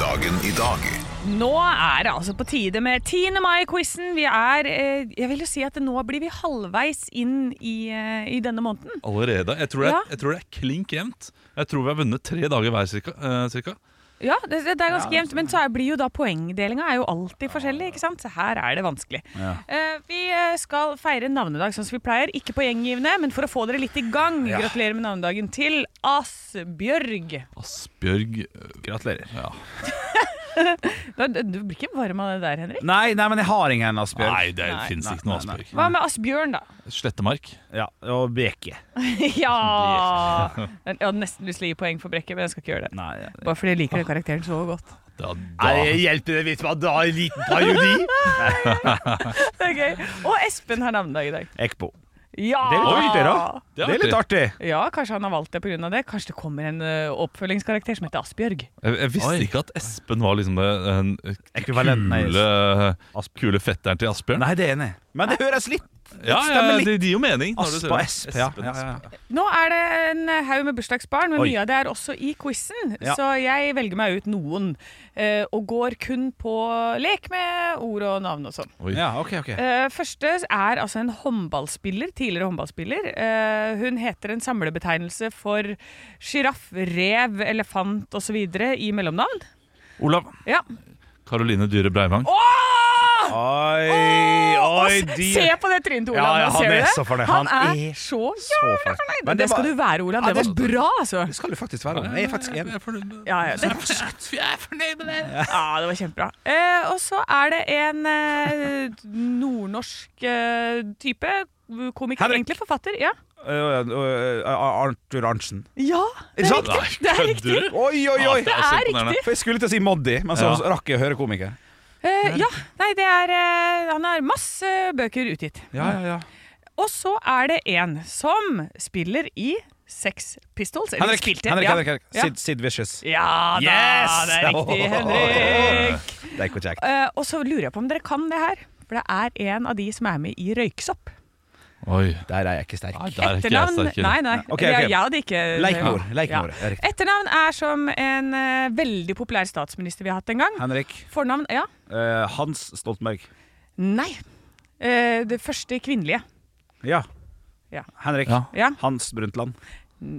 Speaker 1: Dagen i dag
Speaker 4: Nå er det altså på tide med 10. mai-quizen. Vi er eh, Jeg vil jo si at nå blir vi halvveis inn i, eh, i denne måneden.
Speaker 3: Allerede? Jeg tror, det,
Speaker 4: Ja.
Speaker 3: er- jeg tror det er klink jevnt. Jeg tror vi har vunnet tre dager hver, cirka. eh, cirka.
Speaker 4: Ja, det, det er ganske jevnt, men så er- blir jo da poengdelinga er jo alltid forskjellig, ikke sant? Så her er det vanskelig. Eh, vi eh, skal feire navnedag sånn som vi pleier. Ikke poenggivende, men for å få dere litt i gang. Gratulerer med navnedagen til Asbjørg.
Speaker 3: Asbjørg eh, Gratulerer. Ja.
Speaker 4: Du, du blir ikke varm av det der, Henrik?
Speaker 2: Nei, nei, men jeg har ingen Asbjørn.
Speaker 3: Nei, det
Speaker 4: Nei,
Speaker 3: finnes
Speaker 2: nei,
Speaker 3: ikke noe
Speaker 2: nei, nei.
Speaker 3: Asbjørg.
Speaker 4: Hva med Asbjørn, da?
Speaker 3: Slettemark.
Speaker 2: Ja, og Beke.
Speaker 4: ja! Jeg hadde nesten lyst til å gi poeng for brekket, men jeg skal ikke gjøre det.
Speaker 2: Nei, jeg-
Speaker 4: Bare fordi jeg liker den karakteren så godt.
Speaker 3: Da,
Speaker 2: Nei,
Speaker 3: da.
Speaker 2: jeg hjelper det litt med at da er en liten parodi.
Speaker 4: Det er gøy. Og Espen har navnedag i dag.
Speaker 2: Ekbo.
Speaker 4: Ja!
Speaker 2: Det er litt artig, da.
Speaker 3: Det er
Speaker 2: Det er litt artig.
Speaker 4: Ja, Kanskje han har valgt det pga. det. Kanskje det kommer en ø, oppfølgingskarakter som heter Asbjørg.
Speaker 3: Jeg, jeg visste ikke at Espen var liksom den eh,
Speaker 2: Ekvivalenten er-
Speaker 3: kule,
Speaker 2: Asp-
Speaker 3: kule fetteren til Asbjørn.
Speaker 2: Nei, det er enig. Men det høres litt
Speaker 3: ja,
Speaker 2: stemmer
Speaker 3: ja,
Speaker 2: litt.
Speaker 3: det det gir jo mening. når du
Speaker 2: Asp
Speaker 3: sier
Speaker 2: og Esp.
Speaker 3: det.
Speaker 2: Ja,
Speaker 3: Espen,
Speaker 2: ja, ja.
Speaker 3: Espen.
Speaker 4: Nå er det en eh, haug med bursdagsbarn, men
Speaker 2: Oi.
Speaker 4: mye av det er også i quizen.
Speaker 2: Ja.
Speaker 4: Så jeg velger meg ut noen, ø, og går kun på lek med ord og navn og sånn.
Speaker 3: Oi.
Speaker 2: ja ok, ok.
Speaker 4: Eh, første er altså en håndballspiller, tidligere håndballspiller. Eh, hun heter en samlebetegnelse for sjiraff, rev, elefant osv. i mellomnavn.
Speaker 3: Olav.
Speaker 4: Ja.
Speaker 3: Karoline Dyhre Breivang.
Speaker 4: Åh!
Speaker 2: Oi, oi,
Speaker 4: Og
Speaker 2: de
Speaker 4: se se på det trynet til
Speaker 2: Ja,
Speaker 4: Olav!
Speaker 2: ja,
Speaker 4: nå,
Speaker 2: han
Speaker 4: ser du
Speaker 2: er
Speaker 4: det?
Speaker 2: så fornøyd.
Speaker 4: Han
Speaker 2: Han
Speaker 4: er
Speaker 2: er
Speaker 4: så
Speaker 2: så fornøyd.
Speaker 4: jævla fornøyd!
Speaker 2: Men
Speaker 4: Det
Speaker 2: det
Speaker 4: skal
Speaker 2: var-
Speaker 4: du være, Olav.
Speaker 2: Ja,
Speaker 4: Det
Speaker 2: det
Speaker 4: var bra, altså.
Speaker 2: Det skal du faktisk være. Jeg er faktisk enig.
Speaker 4: Ja, ja, det, ja, det var kjempebra. Eh, og så er det en eh, nordnorsk eh, type komiker,
Speaker 2: Henrik.
Speaker 4: egentlig forfatter. Ja,
Speaker 2: Ø, ø, ø, Arthur Arntzen.
Speaker 4: ja det er
Speaker 2: sant?
Speaker 4: riktig! Det er riktig.
Speaker 3: Kødder du?
Speaker 2: Oi, oi, oi!
Speaker 3: Ja,
Speaker 4: er
Speaker 3: så imponerende.
Speaker 2: For jeg skulle til å si Moddi, men så
Speaker 3: Ja.
Speaker 2: rakk jeg å høre komiker.
Speaker 4: Eh, ja, nei, det er eh, Han har masse bøker utgitt.
Speaker 2: Ja, ja, ja.
Speaker 4: Og så er det en som spiller i Sex Pistols. Eller
Speaker 2: Henrik,
Speaker 4: spilte,
Speaker 2: Henrik,
Speaker 4: ja.
Speaker 2: Henrik, Henrik.
Speaker 4: Ja.
Speaker 2: Sid, Sid Vicious.
Speaker 4: ja da,
Speaker 2: Yes!
Speaker 4: det er riktig, Henrik.
Speaker 2: Det er ikke kjekt.
Speaker 4: Eh, og så lurer jeg på om dere kan det her. For det er en av de som er med i Røyksopp.
Speaker 3: Oi.
Speaker 2: Der er jeg ikke sterk.
Speaker 3: Nei, der er ikke jeg
Speaker 4: Etternavn
Speaker 3: sterkere.
Speaker 4: Nei, nei.
Speaker 2: Ok, ok.
Speaker 4: Jeg, jeg hadde ikke
Speaker 2: Leikmor. Leikmor,
Speaker 4: Ja.
Speaker 2: det er riktig.
Speaker 4: Etternavn er som en eh, veldig populær statsminister vi har hatt en gang.
Speaker 2: Henrik.
Speaker 4: Fornavn Ja.
Speaker 3: eh,
Speaker 2: ø, Hans Stoltenberg.
Speaker 4: Nei. Eh, det første kvinnelige.
Speaker 2: Ja.
Speaker 4: Ja.
Speaker 2: Henrik.
Speaker 3: Ja.
Speaker 4: Ja.
Speaker 2: Hans Brundtland.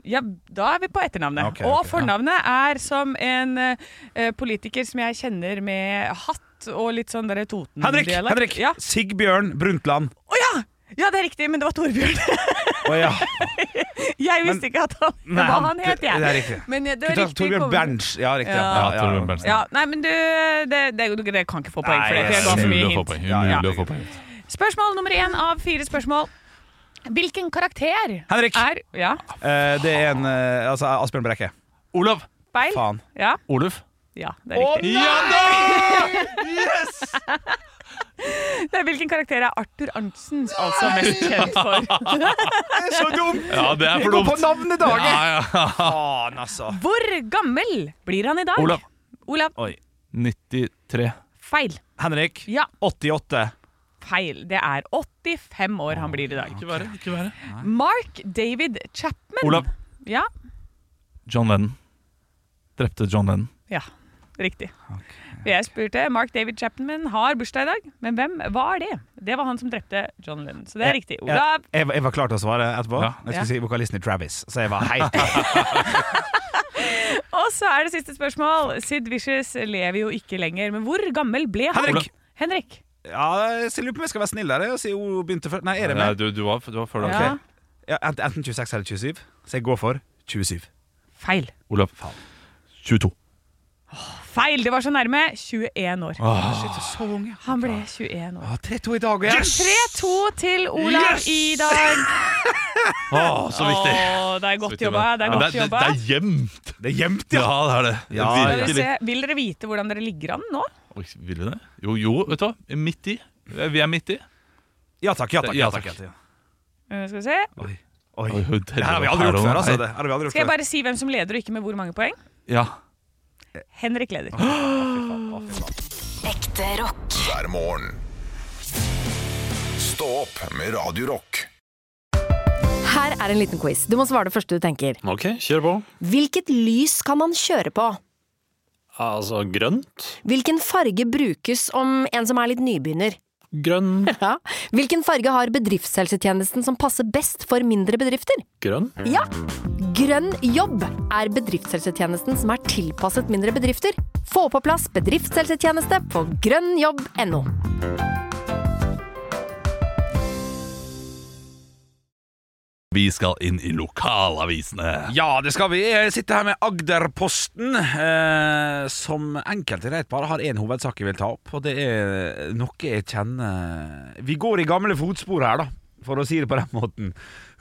Speaker 4: Ja, da er vi på etternavnet.
Speaker 2: Ok,
Speaker 4: og
Speaker 2: ok, ja.
Speaker 4: fornavnet er som en eh, politiker som jeg kjenner med hatt og litt sånn derre
Speaker 3: Mm,
Speaker 2: Henrik!
Speaker 4: Toten-dialekt.
Speaker 2: Henrik!
Speaker 4: Ja.
Speaker 2: Sigbjørn Brundtland.
Speaker 4: Å ja! Ja, det er riktig, men det var Torbjørn.
Speaker 2: Å ja.
Speaker 4: Jeg visste ikke at han,
Speaker 2: Nei,
Speaker 4: hva
Speaker 2: han-
Speaker 4: han het, jeg.
Speaker 2: det er riktig.
Speaker 4: Men eh, det var riktig
Speaker 2: Torbjørn
Speaker 4: kommet-
Speaker 2: Berntsen. Ja, riktig.
Speaker 4: Ja.
Speaker 3: Ja, Torbjørn Berntsen.
Speaker 4: Ja, nei, men du det, det, du- det kan ikke få poeng for det,
Speaker 2: Nei,
Speaker 4: for jeg ga for mye
Speaker 3: Umulig å få
Speaker 4: hint.
Speaker 3: poeng.
Speaker 2: Ja, ja.
Speaker 3: Umulig å få poeng.
Speaker 4: Spørsmål nummer én av fire spørsmål. Hvilken karakter
Speaker 2: Henrik.
Speaker 4: er Ja,
Speaker 2: Eh, det er en eh, Altså, Asbjørn Brekke.
Speaker 3: Olav.
Speaker 4: feil.
Speaker 2: Faen.
Speaker 4: Ja,
Speaker 3: Oluf.
Speaker 4: ja, det er riktig.
Speaker 3: Ja da! Yes!
Speaker 4: Det er Hvilken karakter er Arthur Arntzen altså mest kjent for?
Speaker 2: Det er så dumt!
Speaker 3: Ja, det er
Speaker 2: Vi
Speaker 3: for
Speaker 2: går på
Speaker 3: dumt.
Speaker 2: navnedagen!
Speaker 3: Ja, ja.
Speaker 2: Faen, altså.
Speaker 4: Hvor gammel blir han i dag?
Speaker 3: Olav.
Speaker 4: Olav,
Speaker 2: Oi.
Speaker 3: 93.
Speaker 4: feil.
Speaker 2: Henrik.
Speaker 4: Ja,
Speaker 2: 88.
Speaker 4: feil. Det er 85 år han blir i dag.
Speaker 3: Ikke verre. ikke verre
Speaker 4: Mark David Chapman.
Speaker 3: Olav.
Speaker 4: Ja,
Speaker 3: John Lennon. Drepte John Lennon.
Speaker 4: ja riktig. Jeg spurte Mark David Chapman har bursdag i dag, men hvem var det? Det var han som drepte John Lennon, så det er riktig. Olav.
Speaker 2: Jeg, jeg, var- jeg var klar til å svare etterpå.
Speaker 3: Ja.
Speaker 2: Jeg
Speaker 4: Ja.
Speaker 2: skulle si vokalisten i Travis, så jeg var helt
Speaker 4: Og så er det siste spørsmål. Sid Vicious lever jo ikke lenger, men hvor gammel ble han?
Speaker 2: Henrik.
Speaker 4: Henrik.
Speaker 2: Ja, jeg lurer på om jeg skal være snill der. Jeg sier hun begynte før. Nei, er det
Speaker 3: Nei,
Speaker 2: meg?
Speaker 3: du, du, var, du var før da.
Speaker 4: Ja,
Speaker 2: Ja, ent- enten 26 eller 27, så jeg går for 27.
Speaker 4: feil.
Speaker 3: Olav. 22.
Speaker 4: Feil! Det var så nærme. 21 år.
Speaker 2: Ah. Så unge.
Speaker 4: Han ble 21 år.
Speaker 2: Ja, 3-2 i dag og jeg-
Speaker 4: 3-2 til Olav
Speaker 2: Yes!
Speaker 4: i dag.
Speaker 3: Å, så viktig.
Speaker 4: Åh, det er godt
Speaker 3: Viktig,
Speaker 4: jobba.
Speaker 3: men-
Speaker 4: Det er
Speaker 3: Men
Speaker 4: godt
Speaker 3: det,
Speaker 4: jobba.
Speaker 3: det er gjemt.
Speaker 2: Det er gjemt,
Speaker 3: Ja,
Speaker 2: ja!
Speaker 3: det er det.
Speaker 2: Ja,
Speaker 3: det
Speaker 2: ja.
Speaker 3: er
Speaker 4: Skal vi
Speaker 3: virkelig.
Speaker 4: se, vil dere vite hvordan dere ligger an nå?
Speaker 3: Oi, Vil vi det? Jo, jo, vet du hva. Midt i. Vi er midt i.
Speaker 2: Ja takk, ja takk. Ja, takk. Ja, takk.
Speaker 4: Eh, Skal vi se.
Speaker 2: Oi. Oi.
Speaker 3: Oi, hun
Speaker 2: Det her har vi aldri gjort før, altså. Det her har vi aldri gjort
Speaker 4: Skal jeg
Speaker 2: før.
Speaker 4: bare si hvem som leder, og ikke med hvor mange poeng?
Speaker 3: Ja.
Speaker 4: Henrik leder.
Speaker 6: Ekte rock.
Speaker 1: hver morgen. Stå opp med Radio Rock.
Speaker 8: Her er en liten quiz. Du må svare det første du tenker.
Speaker 9: Ok, kjør på.
Speaker 8: Hvilket lys kan man kjøre på?
Speaker 9: Altså grønt?
Speaker 8: Hvilken farge brukes om en som er litt nybegynner?
Speaker 9: Grønn,
Speaker 8: Ja. Hvilken farge har bedriftshelsetjenesten som passer best for mindre bedrifter?
Speaker 9: grønn.
Speaker 8: Ja! Grønn jobb er bedriftshelsetjenesten som er tilpasset mindre bedrifter. Få på plass bedriftshelsetjeneste på grønnjobb.no.
Speaker 3: Vi skal inn i lokalavisene.
Speaker 2: Ja, det skal vi. Jeg sitter her med Agderposten, eh, som enkelte vet bare har én hovedsak jeg vil ta opp, og det er noe jeg kjenner Vi går i gamle fotspor her, da. For å si det på den måten.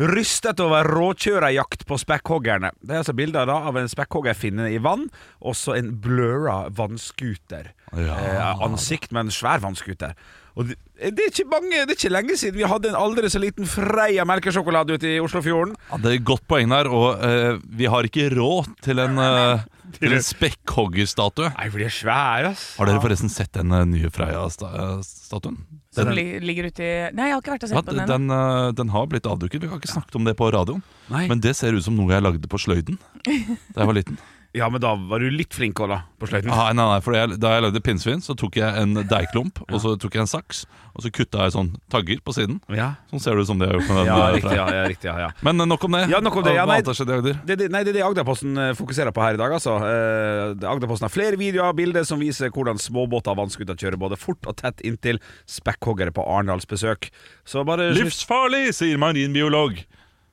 Speaker 2: Rystet over råkjørerjakt på spekkhoggerne. Det er altså bilder da av en spekkhoggerfinne i vann, og så en bløra vannskuter.
Speaker 3: Ja.
Speaker 2: Eh, ansikt med en svær vannskuter. Og det, eh, det, er ikke mange, det er ikke lenge siden vi hadde en aldri så liten Freia melkesjokolade ute i Oslofjorden.
Speaker 3: Ja, det er et godt poeng der, og eh, vi har ikke råd til en, uh, en spekkhoggerstatue.
Speaker 2: Nei, for de er svære, ass.
Speaker 3: Har dere forresten sett den eh, nye Freia-statuen?
Speaker 4: Som li- ligger ute i Nei, jeg har ikke vært og sett
Speaker 3: Ja,
Speaker 4: på den.
Speaker 3: den,
Speaker 4: ennå.
Speaker 3: eh, den har blitt avduket. Vi har ikke snakket om det på radioen.
Speaker 2: Nei.
Speaker 3: Men det ser ut som noe jeg lagde på sløyden da jeg var liten.
Speaker 2: Ja, men da var du litt flink også da, på sløyten.
Speaker 3: Ah, nei, nei, for jeg, Da jeg lagde pinnsvin, så tok jeg en deigklump og så tok jeg en saks. Og så kutta jeg sånn tagger på siden.
Speaker 2: Ja,
Speaker 3: Sånn ser det ut som det jeg har gjort med den.
Speaker 2: ja
Speaker 3: eh,
Speaker 2: riktig,
Speaker 3: Freia.
Speaker 2: ja, ja, riktig, ja, ja.
Speaker 3: Men eh, nok om det.
Speaker 2: Ja, nok om det. Ja,
Speaker 3: Hva
Speaker 2: nei.
Speaker 3: annet har skjedd i Agder?
Speaker 2: Det, det, nei, det er det Agderposten eh, fokuserer på her i dag, altså. Eh, det- Agderposten har flere videoer og bilder som viser hvordan småbåter og vannskuter kjører både fort og tett inntil spekkhoggere på Arendalsbesøk. Så bare
Speaker 3: Livsfarlig, sier marinbiolog.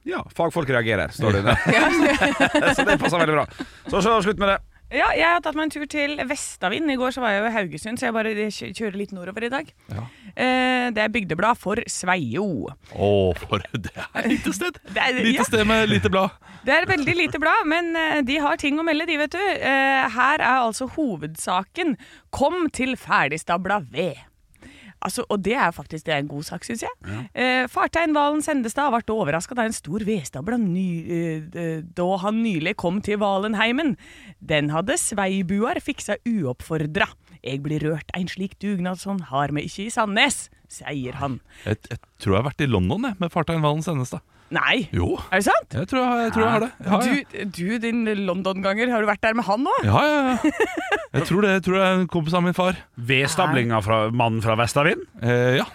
Speaker 2: Ja, fagfolk reagerer, står det under. så det passer veldig bra. Så, så slutt med det.
Speaker 4: Ja, jeg har tatt meg en tur til Vestavind. I går så var jeg jo i Haugesund, så jeg bare kjø- kjører litt nordover i dag. Eh, Det er bygdeblad for Sveio.
Speaker 3: Å, for det er et lite sted.
Speaker 4: Det er,
Speaker 3: Lite
Speaker 4: ja,
Speaker 3: sted med lite blad.
Speaker 4: det er et veldig lite blad, men eh, de har ting å melde, de, vet du. Eh, Her er altså hovedsaken 'Kom til ferdigstabla ved'. Altså, og det er faktisk det er en god sak, syns jeg. Eh, Fartein Valen Sendestad ble overraska da en stor vedstabla ny, eh, eh, da han nylig kom til Valenheimen. Den hadde sveibuar fiksa uoppfordra. Jeg blir rørt, ein slik dugnad sånn har vi ikke i Sandnes, sier han.
Speaker 3: Jeg, jeg tror jeg har vært i London jeg, med Fartein Valen Sennestad.
Speaker 4: Nei,
Speaker 3: Jo,
Speaker 4: er det sant?
Speaker 3: jeg tror jeg, har- jeg, tror jeg har det. Ja, ja.
Speaker 4: Du, du, din London-ganger, har du vært der med han òg?
Speaker 3: Ja, ja, ja. Jeg tror det, jeg tror det er en kompis av min far.
Speaker 2: Vedstablinga fra mannen fra Vestavind.
Speaker 3: Eh, ja.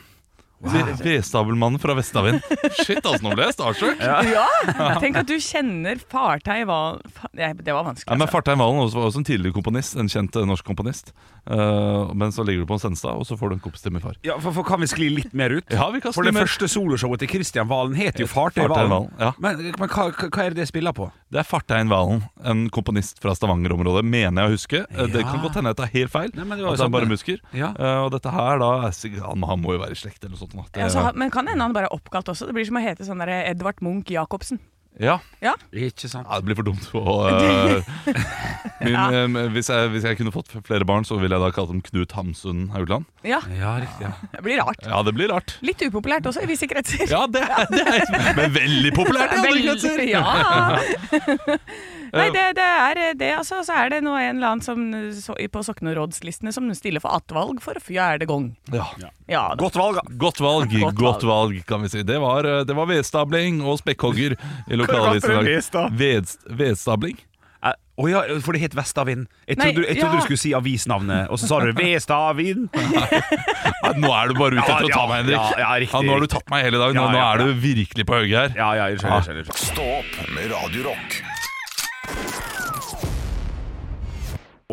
Speaker 3: Ve- Vedstabelmannen fra Vestavind. Shit, altså, nå ble jeg starstruck. Ja.
Speaker 4: Ja. Tenk at du kjenner Fartei Val... Fa- Nei, Det var vanskelig.
Speaker 3: men
Speaker 4: altså.
Speaker 3: Fartein Valen også, var også en tidligere komponist, en kjent eh, norsk komponist. Eh, men så ligger du på en Senstad, og så får du en kompis til min far.
Speaker 2: Ja, for, for Kan vi skli litt mer ut?
Speaker 3: Ja, vi kan
Speaker 2: For
Speaker 3: skli
Speaker 2: det
Speaker 3: mer-
Speaker 2: første soloshowet til Kristian Valen het jo
Speaker 3: Fartøy
Speaker 2: Fartøy Valen.
Speaker 3: Valen, ja.
Speaker 2: Men, men hva, hva hva er det det spiller på?
Speaker 3: Det er Fartein Valen, en komponist fra Stavanger-området, mener jeg å huske. Eh, Det
Speaker 2: Ja.
Speaker 3: kan godt hende jeg tar helt feil,
Speaker 2: Nei, men det var jo
Speaker 3: at han
Speaker 2: sånn
Speaker 3: bare
Speaker 2: det-
Speaker 3: musker.
Speaker 2: Ja.
Speaker 3: Eh, og dette her, da er sikkert, han, han må jo være i slekt eller noe sånt. da. Det,
Speaker 4: Ja, så, han- men kan hende han bare er oppkalt også. Det blir som å hete sånn der Edvard Munch Jacobsen.
Speaker 3: ja.
Speaker 4: Ja.
Speaker 2: Ikke sant?
Speaker 3: Ja, det blir for dumt. Og, eh, min, eh, hvis, jeg, hvis jeg kunne fått flere barn, så ville jeg da kalt dem Knut Hamsun Haugland.
Speaker 4: Ja,
Speaker 2: Ja, riktig. Ja.
Speaker 4: det blir rart.
Speaker 3: Ja, det blir rart.
Speaker 4: Litt upopulært også i visse kretser.
Speaker 3: Ja, det er, det er Men veldig populært i andre
Speaker 4: Vel-
Speaker 3: kretser!
Speaker 4: ja. Nei, det, det er det, altså. Så er det nå en eller annen som, så, på soknerådslistene som stiller for attvalg for fjerde gang.
Speaker 3: Ja.
Speaker 4: Ja, da.
Speaker 2: Godt valg.
Speaker 3: Godt valg,
Speaker 4: Godt valg.
Speaker 3: godt valg, kan vi si. Det var, eh, det var vedstabling og spekkhogger i lokalavisen
Speaker 2: Hva er
Speaker 3: i
Speaker 2: vedsta?
Speaker 3: dag. Veds- Vedstabling?
Speaker 2: Å ja, for det het Vestavind. Jeg
Speaker 4: Nei,
Speaker 2: trodde, jeg trodde
Speaker 4: ja.
Speaker 2: du skulle si avisnavnet, og så sa du Vestavind.
Speaker 3: Ja, nå er du bare ute etter å ta
Speaker 2: Ja,
Speaker 3: meg, Henrik.
Speaker 2: ja, ja, riktig,
Speaker 3: nå har du
Speaker 2: riktig.
Speaker 3: tatt meg hele dagen. Nå,
Speaker 2: Ja,
Speaker 3: nå
Speaker 2: ja,
Speaker 3: er du virkelig på hugget her.
Speaker 2: Ja, ja, unnskyld,
Speaker 3: Ja.
Speaker 2: unnskyld. unnskyld.
Speaker 1: Stå opp med Radio Rock.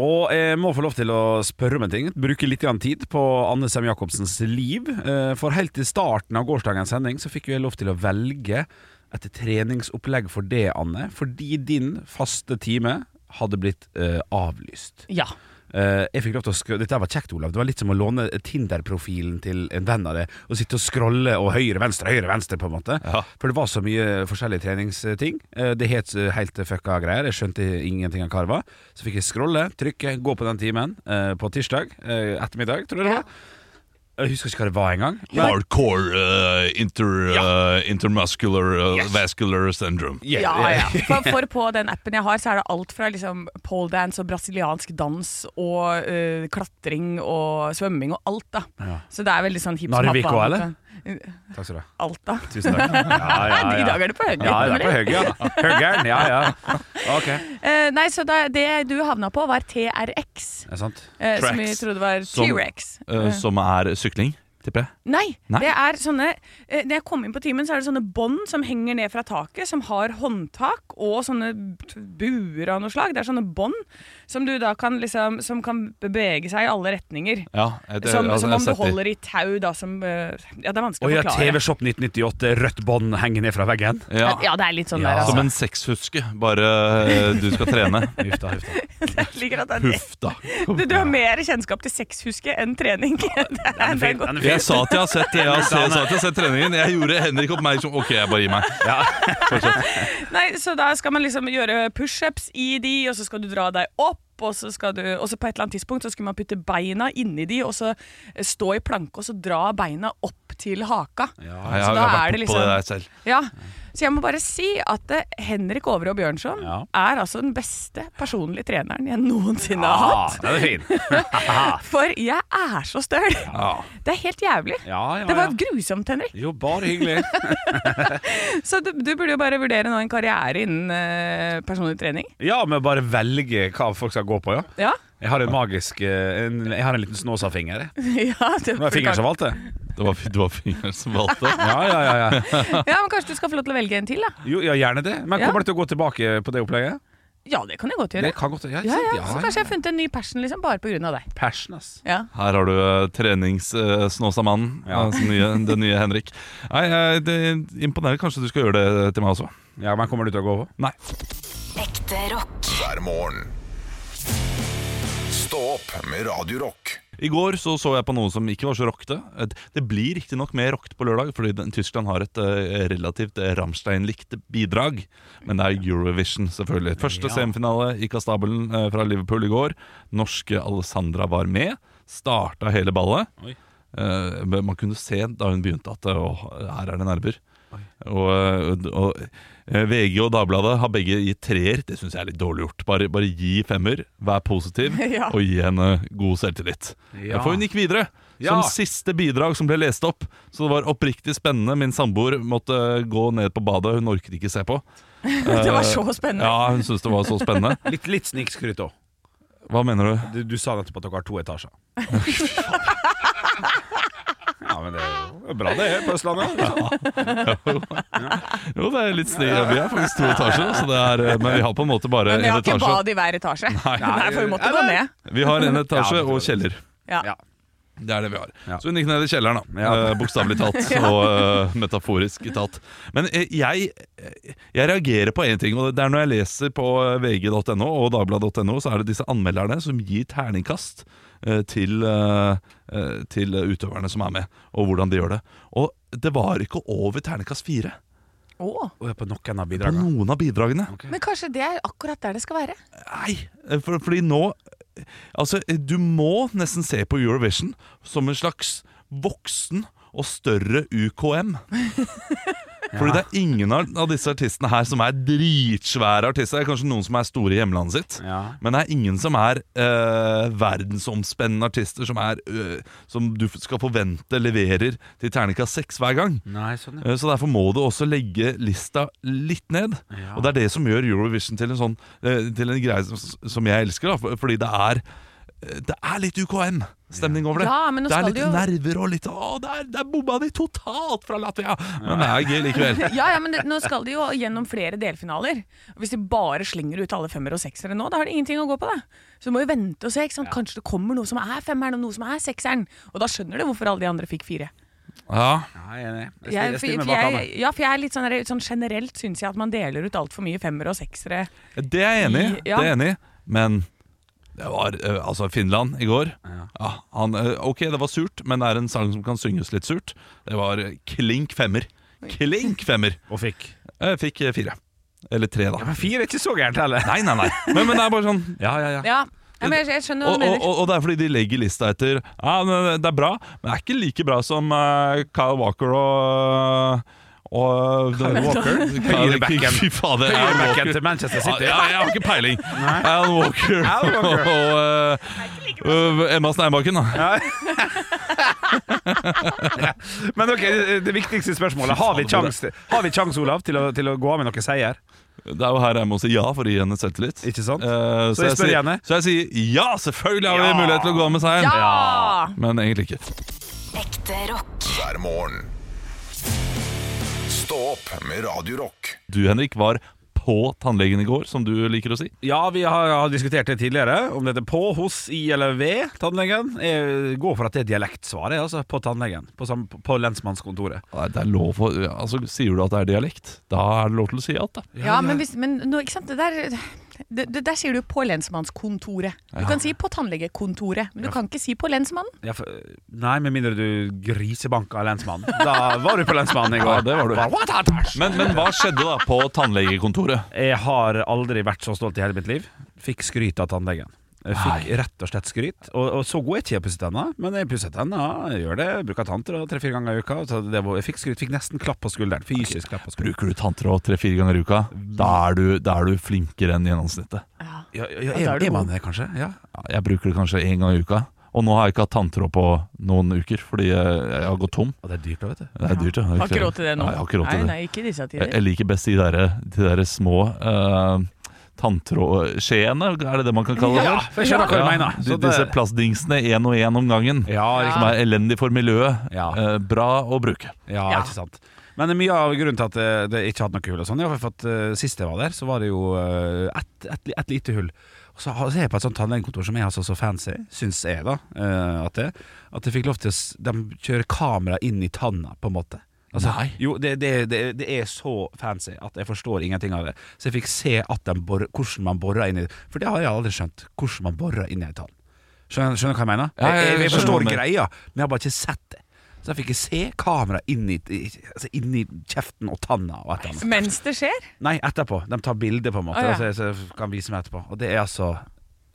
Speaker 2: Og jeg må få lov til å spørre om en ting. Bruke litt grann tid på Anne Sem Jacobsens liv. Eh, For helt i starten av gårsdagens sending så fikk jo jeg lov til å velge et treningsopplegg for det, Anne. Fordi din faste time hadde blitt eh, avlyst.
Speaker 4: Ja.
Speaker 2: Eh, jeg fikk lov til å skro- Dette var kjekt, Olav. Det var litt som å låne Tinder-profilen til en venn av deg og sitte og scrolle og høyre, venstre, høyre, venstre, på en måte.
Speaker 3: Ja.
Speaker 2: For det var så mye forskjellige treningsting. Eh, det het eh, helt fucka greier. Jeg skjønte ingenting av hva det var. Så fikk jeg scrolle, trykke, gå på den timen eh, på tirsdag eh, ettermiddag, tror jeg det var. Jeg husker ikke hva det var engang. Men-
Speaker 3: Hardcore eh, inter, eh, intermuscular eh, vascular syndrome.
Speaker 2: Yeah,
Speaker 4: Ja,
Speaker 2: yeah.
Speaker 4: ja. For, for på den appen jeg har, så er det alt fra liksom poledance og brasiliansk dans og eh, klatring og svømming og alt, da. Så det er veldig sånn hipp som happ,
Speaker 2: Narvik
Speaker 4: på en
Speaker 2: også,
Speaker 4: måte.
Speaker 2: eller? Takk skal du ha.
Speaker 4: Alta.
Speaker 2: Tusen takk. Ja, ja,
Speaker 4: I
Speaker 2: ja.
Speaker 4: dag er det på Høggen.
Speaker 2: Ja, det er på Høgge, ja. Høggern, ja, ja. Ok,
Speaker 4: Eh, nei, så da, det du havna på, var TRX.
Speaker 2: er det sant?
Speaker 4: eh, som vi
Speaker 3: Tracks.
Speaker 4: trodde var
Speaker 3: Som-
Speaker 4: T-rex.
Speaker 3: eh, som er sykling, tipper jeg.
Speaker 4: Nei,
Speaker 3: Nei.
Speaker 4: det er sånne eh, Når jeg kom inn på timen, så er det sånne bånd som henger ned fra taket, som har håndtak og sånne t- buer av noe slag. Det er sånne bånd som du da kan liksom Som kan bevege seg i alle retninger.
Speaker 3: Ja, det,
Speaker 4: som,
Speaker 3: altså,
Speaker 4: som
Speaker 3: jeg
Speaker 4: om du
Speaker 3: setter-
Speaker 4: holder i tau, da, som eh, Ja, det er vanskelig
Speaker 2: Oi, ja,
Speaker 4: å forklare.
Speaker 2: TV-shop 1998, rødt bånd henger ned fra veggen.
Speaker 3: ja,
Speaker 4: Ja, det er litt sånn
Speaker 2: Ja.
Speaker 4: der, altså.
Speaker 3: Som en sexhuske, bare eh, du skal trene.
Speaker 2: Huff da, huff da.
Speaker 4: Jeg liker at det er det.
Speaker 3: Huff, da.
Speaker 4: Du, du har mer kjennskap til sexhuske enn trening. Det er, det er
Speaker 2: Den er fin,
Speaker 4: godt.
Speaker 2: den er fin.
Speaker 3: Jeg sa at jeg har sett det. Jeg sa, jeg sa at jeg har sett treningen. Jeg gjorde Henrik oppmerksom Ok, jeg bare gir meg.
Speaker 4: Nei, så da skal man liksom gjøre pushups i de, og så skal du dra deg opp. Og så, skal du, og så på et eller annet tidspunkt så skulle man putte beina inni de, og så eh, stå i planke og så dra beina opp til haka.
Speaker 3: Ja, Jeg
Speaker 4: Så da
Speaker 3: har, jeg har
Speaker 4: er det
Speaker 3: vært på det
Speaker 4: liksom-
Speaker 3: der selv.
Speaker 4: Ja. Så jeg må bare si at eh, Henrik Overå Bjørnson
Speaker 2: Ja.
Speaker 4: er altså den beste personlige treneren jeg noensinne har
Speaker 2: Ah,
Speaker 4: hatt.
Speaker 2: den er fin.
Speaker 4: For jeg er så støl!
Speaker 2: Ja,
Speaker 4: Det er helt jævlig.
Speaker 2: ja, ja.
Speaker 4: Det var
Speaker 2: ja.
Speaker 4: grusomt, Henrik.
Speaker 2: Jo, bare hyggelig.
Speaker 4: Så du, du burde jo bare vurdere nå en karriere innen eh, personlig trening.
Speaker 2: Ja, men bare velge hva folk skal gå på, ja.
Speaker 4: Ja.
Speaker 2: Jeg har en magisk eh, en, Jeg har en liten snåsafinger. jeg.
Speaker 4: ja det
Speaker 2: Det var fingeren som valgte.
Speaker 3: Det var, det var fingeren som valgte.
Speaker 2: Ja, ja, ja, ja.
Speaker 4: Ja, men Kanskje du skal få lov til å velge en til? da
Speaker 2: Jo, ja, gjerne det. Men
Speaker 4: Ja.
Speaker 2: kommer du til å gå tilbake på det opplegget?
Speaker 4: Ja, det kan jeg godt gjøre.
Speaker 2: Det kan godt Ja,
Speaker 4: Ja, ja, Så
Speaker 2: ja,
Speaker 4: kanskje jeg har funnet en ny passion liksom, bare pga. deg.
Speaker 2: Passion, ass.
Speaker 4: Ja.
Speaker 3: Her har du uh, treningssnåsamannen,
Speaker 2: Ja.
Speaker 3: eh, nye, den nye Henrik. Nei, eh, det imponerer. Kanskje du skal gjøre det til meg også?
Speaker 2: Ja, men kommer du til å gå på?
Speaker 3: Nei.
Speaker 6: Ekte rock.
Speaker 1: hver morgen. Stå opp med Radio Rock.
Speaker 3: I går så, så jeg på noe som ikke var så rockete. Det blir riktignok mer rockete på lørdag, fordi den, Tyskland har et eh, relativt Ramstein-likt bidrag. Men det er Eurovision, selvfølgelig. Første semifinale gikk av stabelen eh, fra Liverpool i går. Norske Alessandra var med. Starta hele ballet.
Speaker 2: Oi.
Speaker 3: Eh, men man kunne se da hun begynte at eh, åh, her er det nerver. Og, eh, og eh, VG og Dagbladet har begge gitt treer. Det syns jeg er litt dårlig gjort. Bare, bare gi femmer, vær positiv,
Speaker 4: Ja.
Speaker 3: og gi henne god selvtillit.
Speaker 2: Ja.
Speaker 3: For hun gikk videre
Speaker 2: Ja.
Speaker 3: som siste bidrag som ble lest opp. Så det var oppriktig spennende. Min samboer måtte eh, gå ned på badet, hun orket ikke se på.
Speaker 4: Det var så spennende.
Speaker 3: Ja, hun syntes det var så spennende.
Speaker 2: Litt, litt snikskryt òg.
Speaker 3: Hva mener du?
Speaker 2: Du, du sa nettopp at dere har to etasjer. ja, men det er jo bra det er på Østlandet. liksom.
Speaker 3: Jo, det er litt snig. Vi har faktisk to etasjer, så det er, eh, men vi har på en måte bare
Speaker 4: Men vi
Speaker 3: en
Speaker 4: har ikke
Speaker 3: etasje.
Speaker 4: bad i hver etasje. Nei, for vi måtte gå
Speaker 2: Eller?
Speaker 4: ned.
Speaker 3: Vi har en etasje
Speaker 2: Ja,
Speaker 3: og kjeller.
Speaker 4: Ja.
Speaker 2: Ja.
Speaker 3: Det er det vi har.
Speaker 2: Ja.
Speaker 3: Så hun gikk ned i kjelleren, da.
Speaker 2: Ja.
Speaker 3: Eh, Bokstavelig talt og eh, metaforisk talt. Men eh, jeg, eh, jeg reagerer på én ting, og det er når jeg leser på eh, vg.no og dagbladet.no, så er det disse anmelderne som gir terningkast eh, til, eh, eh, til utøverne som er med, og hvordan de gjør det. Og det var ikke over terningkast fire
Speaker 4: Å,
Speaker 2: Og jeg er på noen av
Speaker 3: på
Speaker 2: bidragene.
Speaker 3: noen av bidragene.
Speaker 4: Men kanskje det er akkurat der det skal være.
Speaker 3: Nei, eh, for, fordi nå Altså, du må nesten se på Eurovision som en slags voksen og større UKM. Fordi det er ingen av av disse artistene her som er dritsvære artister. Det er kanskje noen som er store i hjemlandet sitt.
Speaker 2: Ja.
Speaker 3: Men det er ingen som er eh, verdensomspennende artister som, er, eh, som du skal forvente leverer til terningkast seks hver gang.
Speaker 2: Nei, sånn ja.
Speaker 3: Eh, Så derfor må du også legge lista litt ned.
Speaker 2: Ja.
Speaker 3: Og det er det som gjør Eurovision til en, sånn, eh, til en greie som, som jeg elsker, da, for- fordi det er eh, det er litt UKM-stemning over det.
Speaker 4: Ja, men nå
Speaker 3: det er
Speaker 4: skal
Speaker 3: litt
Speaker 4: det jo-
Speaker 3: nerver og litt Å, der, der bomma de totalt fra Latvia! Men det er gøy likevel.
Speaker 4: Ja, ja, men det, Nå skal de jo gjennom flere delfinaler. Og Hvis de bare slenger ut alle femmer og seksere nå, da har de ingenting å gå på. da Så du må jo vente og se. ikke sant? Kanskje det kommer noe som er femmeren, og noe som er sekseren. Og da skjønner du hvorfor alle de andre fikk fire.
Speaker 3: Ja,
Speaker 2: Nei, jeg er enig. Jeg
Speaker 4: Jeg,
Speaker 2: stiller- Jeg
Speaker 4: for,
Speaker 2: stiller meg
Speaker 4: for
Speaker 2: bak
Speaker 4: jeg,
Speaker 2: Anne.
Speaker 4: ja, for jeg er litt sånn, der- sånn Generelt syns jeg at man deler ut altfor mye femmere og seksere.
Speaker 3: det er jeg enig i.
Speaker 4: I- ja.
Speaker 3: Det er jeg enig i. Men det var eh, altså Finland i går. Ja. han, eh, ok, det var surt, men det er en sang som kan synges litt surt. Det var eh, klink femmer. Klink femmer!
Speaker 2: Og fikk.
Speaker 3: Jeg fikk eh, fire. Eller tre, da.
Speaker 2: Men fire er ikke så gærent heller.
Speaker 3: Nei, nei, nei. Men, men det er bare sånn.
Speaker 2: Ja, ja, ja.
Speaker 4: Ja, ja men jeg, jeg skjønner hva
Speaker 3: Og,
Speaker 4: du
Speaker 3: og,
Speaker 4: mener.
Speaker 3: og, og det er fordi de legger lista etter Ja, men det er bra, men det er ikke like bra som eh, Kyle Walker og, Og
Speaker 4: mener
Speaker 3: Alan
Speaker 4: du?
Speaker 3: Walker
Speaker 2: Høyrebacken.
Speaker 3: Fy fader, Alan Walker.
Speaker 2: Høyrebacken til Manchester City.
Speaker 3: Ja, jeg har ikke peiling. Alan Walker,
Speaker 2: Alan Walker.
Speaker 3: og eh, eh, Emma Steinbakken, da.
Speaker 2: Men ok, det- det viktigste spørsmålet. Har vi kjangs, har vi kjangs, Olav, til å, til å gå av med noen seier?
Speaker 3: Det er jo her jeg må si ja for å gi henne selvtillit.
Speaker 2: Ikke sant?
Speaker 3: Eh,
Speaker 2: Så jeg spør
Speaker 3: sier-
Speaker 2: henne.
Speaker 3: Så jeg sier ja, selvfølgelig har vi
Speaker 2: Ja.
Speaker 3: mulighet til å gå av med seieren.
Speaker 4: Ja!
Speaker 3: Men egentlig ikke.
Speaker 6: Ekte rock.
Speaker 1: hver morgen. Stå opp med Radio Rock.
Speaker 3: Du, Henrik, var på tannlegen i går, som du liker å si.
Speaker 2: Ja, vi har, har diskutert det tidligere. Om dette på, hos, i eller ved tannlegen. Jeg går for at det er dialektsvaret, altså. På tannlegen. På, sam- på lensmannskontoret.
Speaker 3: Nei, Det er lov å- ja, altså, Sier du at det er dialekt, da er det lov til å si alt, da.
Speaker 4: Ja, men, hvis, men nå, ikke sant? Det der, det, det der sier du på lensmannskontoret. Du kan si på tannlegekontoret, men du kan ikke si på lensmannen.
Speaker 2: Ja, for, nei, med mindre du grisebanka lensmannen. Da var du på lensmannen i går.
Speaker 3: Ja, det var du. Men, men hva skjedde da på tannlegekontoret?
Speaker 2: Jeg har aldri vært så stolt i hele mitt liv. Fikk skryt av tannlegen. Jeg Fikk rett og slett skryt. Og, og så god er ikke jeg til å pusse tenna, men jeg pusser tenna. Jeg gjør det, jeg bruker tanntråd tre-fire ganger i uka. Så det var, jeg fikk skryt, fikk nesten klapp på skulderen. Fysisk klapp på skulderen.
Speaker 3: Bruker du tanntråd tre-fire ganger i uka, da er, du, da er du flinkere enn gjennomsnittet.
Speaker 2: Ja, ja,
Speaker 4: da
Speaker 2: er,
Speaker 4: er du
Speaker 2: er man det, kanskje? Ja.
Speaker 3: Ja, jeg bruker det kanskje én gang i uka. Og nå har jeg ikke hatt tanntråd på noen uker, fordi jeg, jeg har gått tom.
Speaker 2: Og det er dyrt, da, vet du.
Speaker 3: Det er dyrt. jeg
Speaker 4: Har ikke råd til det nå.
Speaker 3: Nei, jeg har ikke råd til
Speaker 4: nei,
Speaker 3: det.
Speaker 4: nei, ikke i disse
Speaker 3: Jeg,
Speaker 4: tider.
Speaker 3: jeg liker best de derre de der små uh, tanntrådskjeene, er det det man kan kalle det?
Speaker 2: Ja, for jeg skjønner hva du mener.
Speaker 3: de-
Speaker 2: Så det-
Speaker 3: Disse plastdingsene én og én om gangen,
Speaker 2: Ja,
Speaker 3: som er elendig for miljøet.
Speaker 2: Ja.
Speaker 3: Eh, bra å bruke.
Speaker 2: Ja,
Speaker 4: Ja.
Speaker 2: ikke sant Men mye av grunnen til at eh, det ikke hadde noe hull og sånn, er for at eh, sist jeg var der, så var det jo eh, ett et, et lite hull. Og så har- så er jeg på et sånt tannlegekontor som er altså så fancy, syns jeg, da, eh, at, det, at jeg fikk lov til å s- De kjører kamera inn i tanna, på en måte. Altså,
Speaker 3: Nei.
Speaker 2: Jo, det, det, det, det er så fancy at jeg forstår ingenting av det. Så jeg fikk se at de bor, hvordan man borer inn i For det har jeg aldri skjønt. Hvordan man borer inn i en tann. Skjønner, skjønner du hva jeg mener?
Speaker 3: Ja, ja, ja,
Speaker 2: jeg, jeg, jeg
Speaker 3: skjønner hva
Speaker 2: forstår
Speaker 3: du mener.
Speaker 2: greia, men jeg har bare ikke sett det. Så jeg fikk ikke se kamera inni, i- altså inni kjeften og tanna og et eller annet.
Speaker 4: Mens det skjer.
Speaker 2: Nei, etterpå. De tar bilde, på en måte,
Speaker 4: Å, ja.
Speaker 2: altså, så jeg kan vise meg etterpå. Og det er altså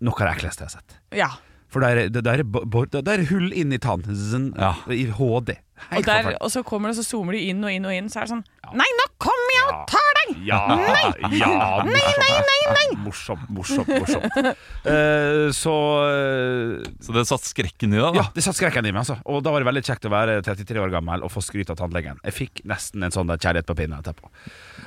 Speaker 2: noe av det ekleste jeg har sett.
Speaker 4: Ja.
Speaker 2: For der er, der er, bo- bo- der er hull inni tann. Zzn,
Speaker 3: Ja.
Speaker 2: I HD.
Speaker 4: Og,
Speaker 2: Helt
Speaker 4: der,
Speaker 2: forferdelig.
Speaker 4: og så kommer det, og så zoomer de inn og inn og inn. Så er det sånn Nei, nå kommer jeg og tar deg!
Speaker 2: Ja, ja Nei, nei, nei, nei Morsomt, morsomt, morsomt Eh, Så eh,
Speaker 3: Så det satt skrekken i deg, da?
Speaker 2: Ja, det satt skrekken i meg altså Og da var det veldig kjekt å være 33 år gammel Og få skryt av tannlegen Jeg fikk nesten en sånn der kjærlighet på pinnen etterpå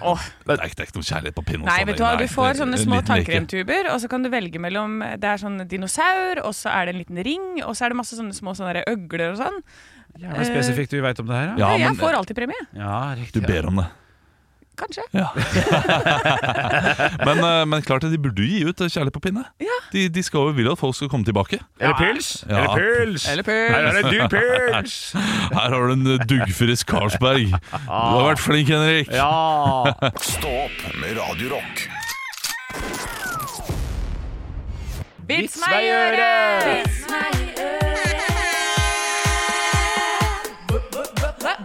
Speaker 4: Åh.
Speaker 3: Det er ikke, det er ikke noe kjærlighet på pinnen. sånn
Speaker 4: Nei, vet du hva, du får sånne små
Speaker 3: tannkrem
Speaker 4: tannkremtuber, og så kan du velge mellom Det er sånn dinosaur, og så er det en liten ring, og så er det masse sånne små sånne der øgler og sånn.
Speaker 2: Jævlig spesifikt du vet om det her
Speaker 3: Eh. Ja,
Speaker 4: jeg
Speaker 3: men
Speaker 4: får alltid premie.
Speaker 2: ja riktig
Speaker 3: du ber om det.
Speaker 4: Kanskje.
Speaker 3: Ja. men, eh, men klart det, de burde jo gi ut eh, kjærlighet på pinne. De, de skal jo vil at folk skal komme tilbake.
Speaker 2: Er det pils?
Speaker 3: Ja.
Speaker 2: Er det pils?
Speaker 4: Eller pøl.
Speaker 2: Her er det dyr pils
Speaker 3: Her har du en eh, duggfrisk Carlsberg. Du har vært flink, Henrik.
Speaker 2: Ja
Speaker 1: Stå opp med Radio Rock
Speaker 4: Vits meg i øret!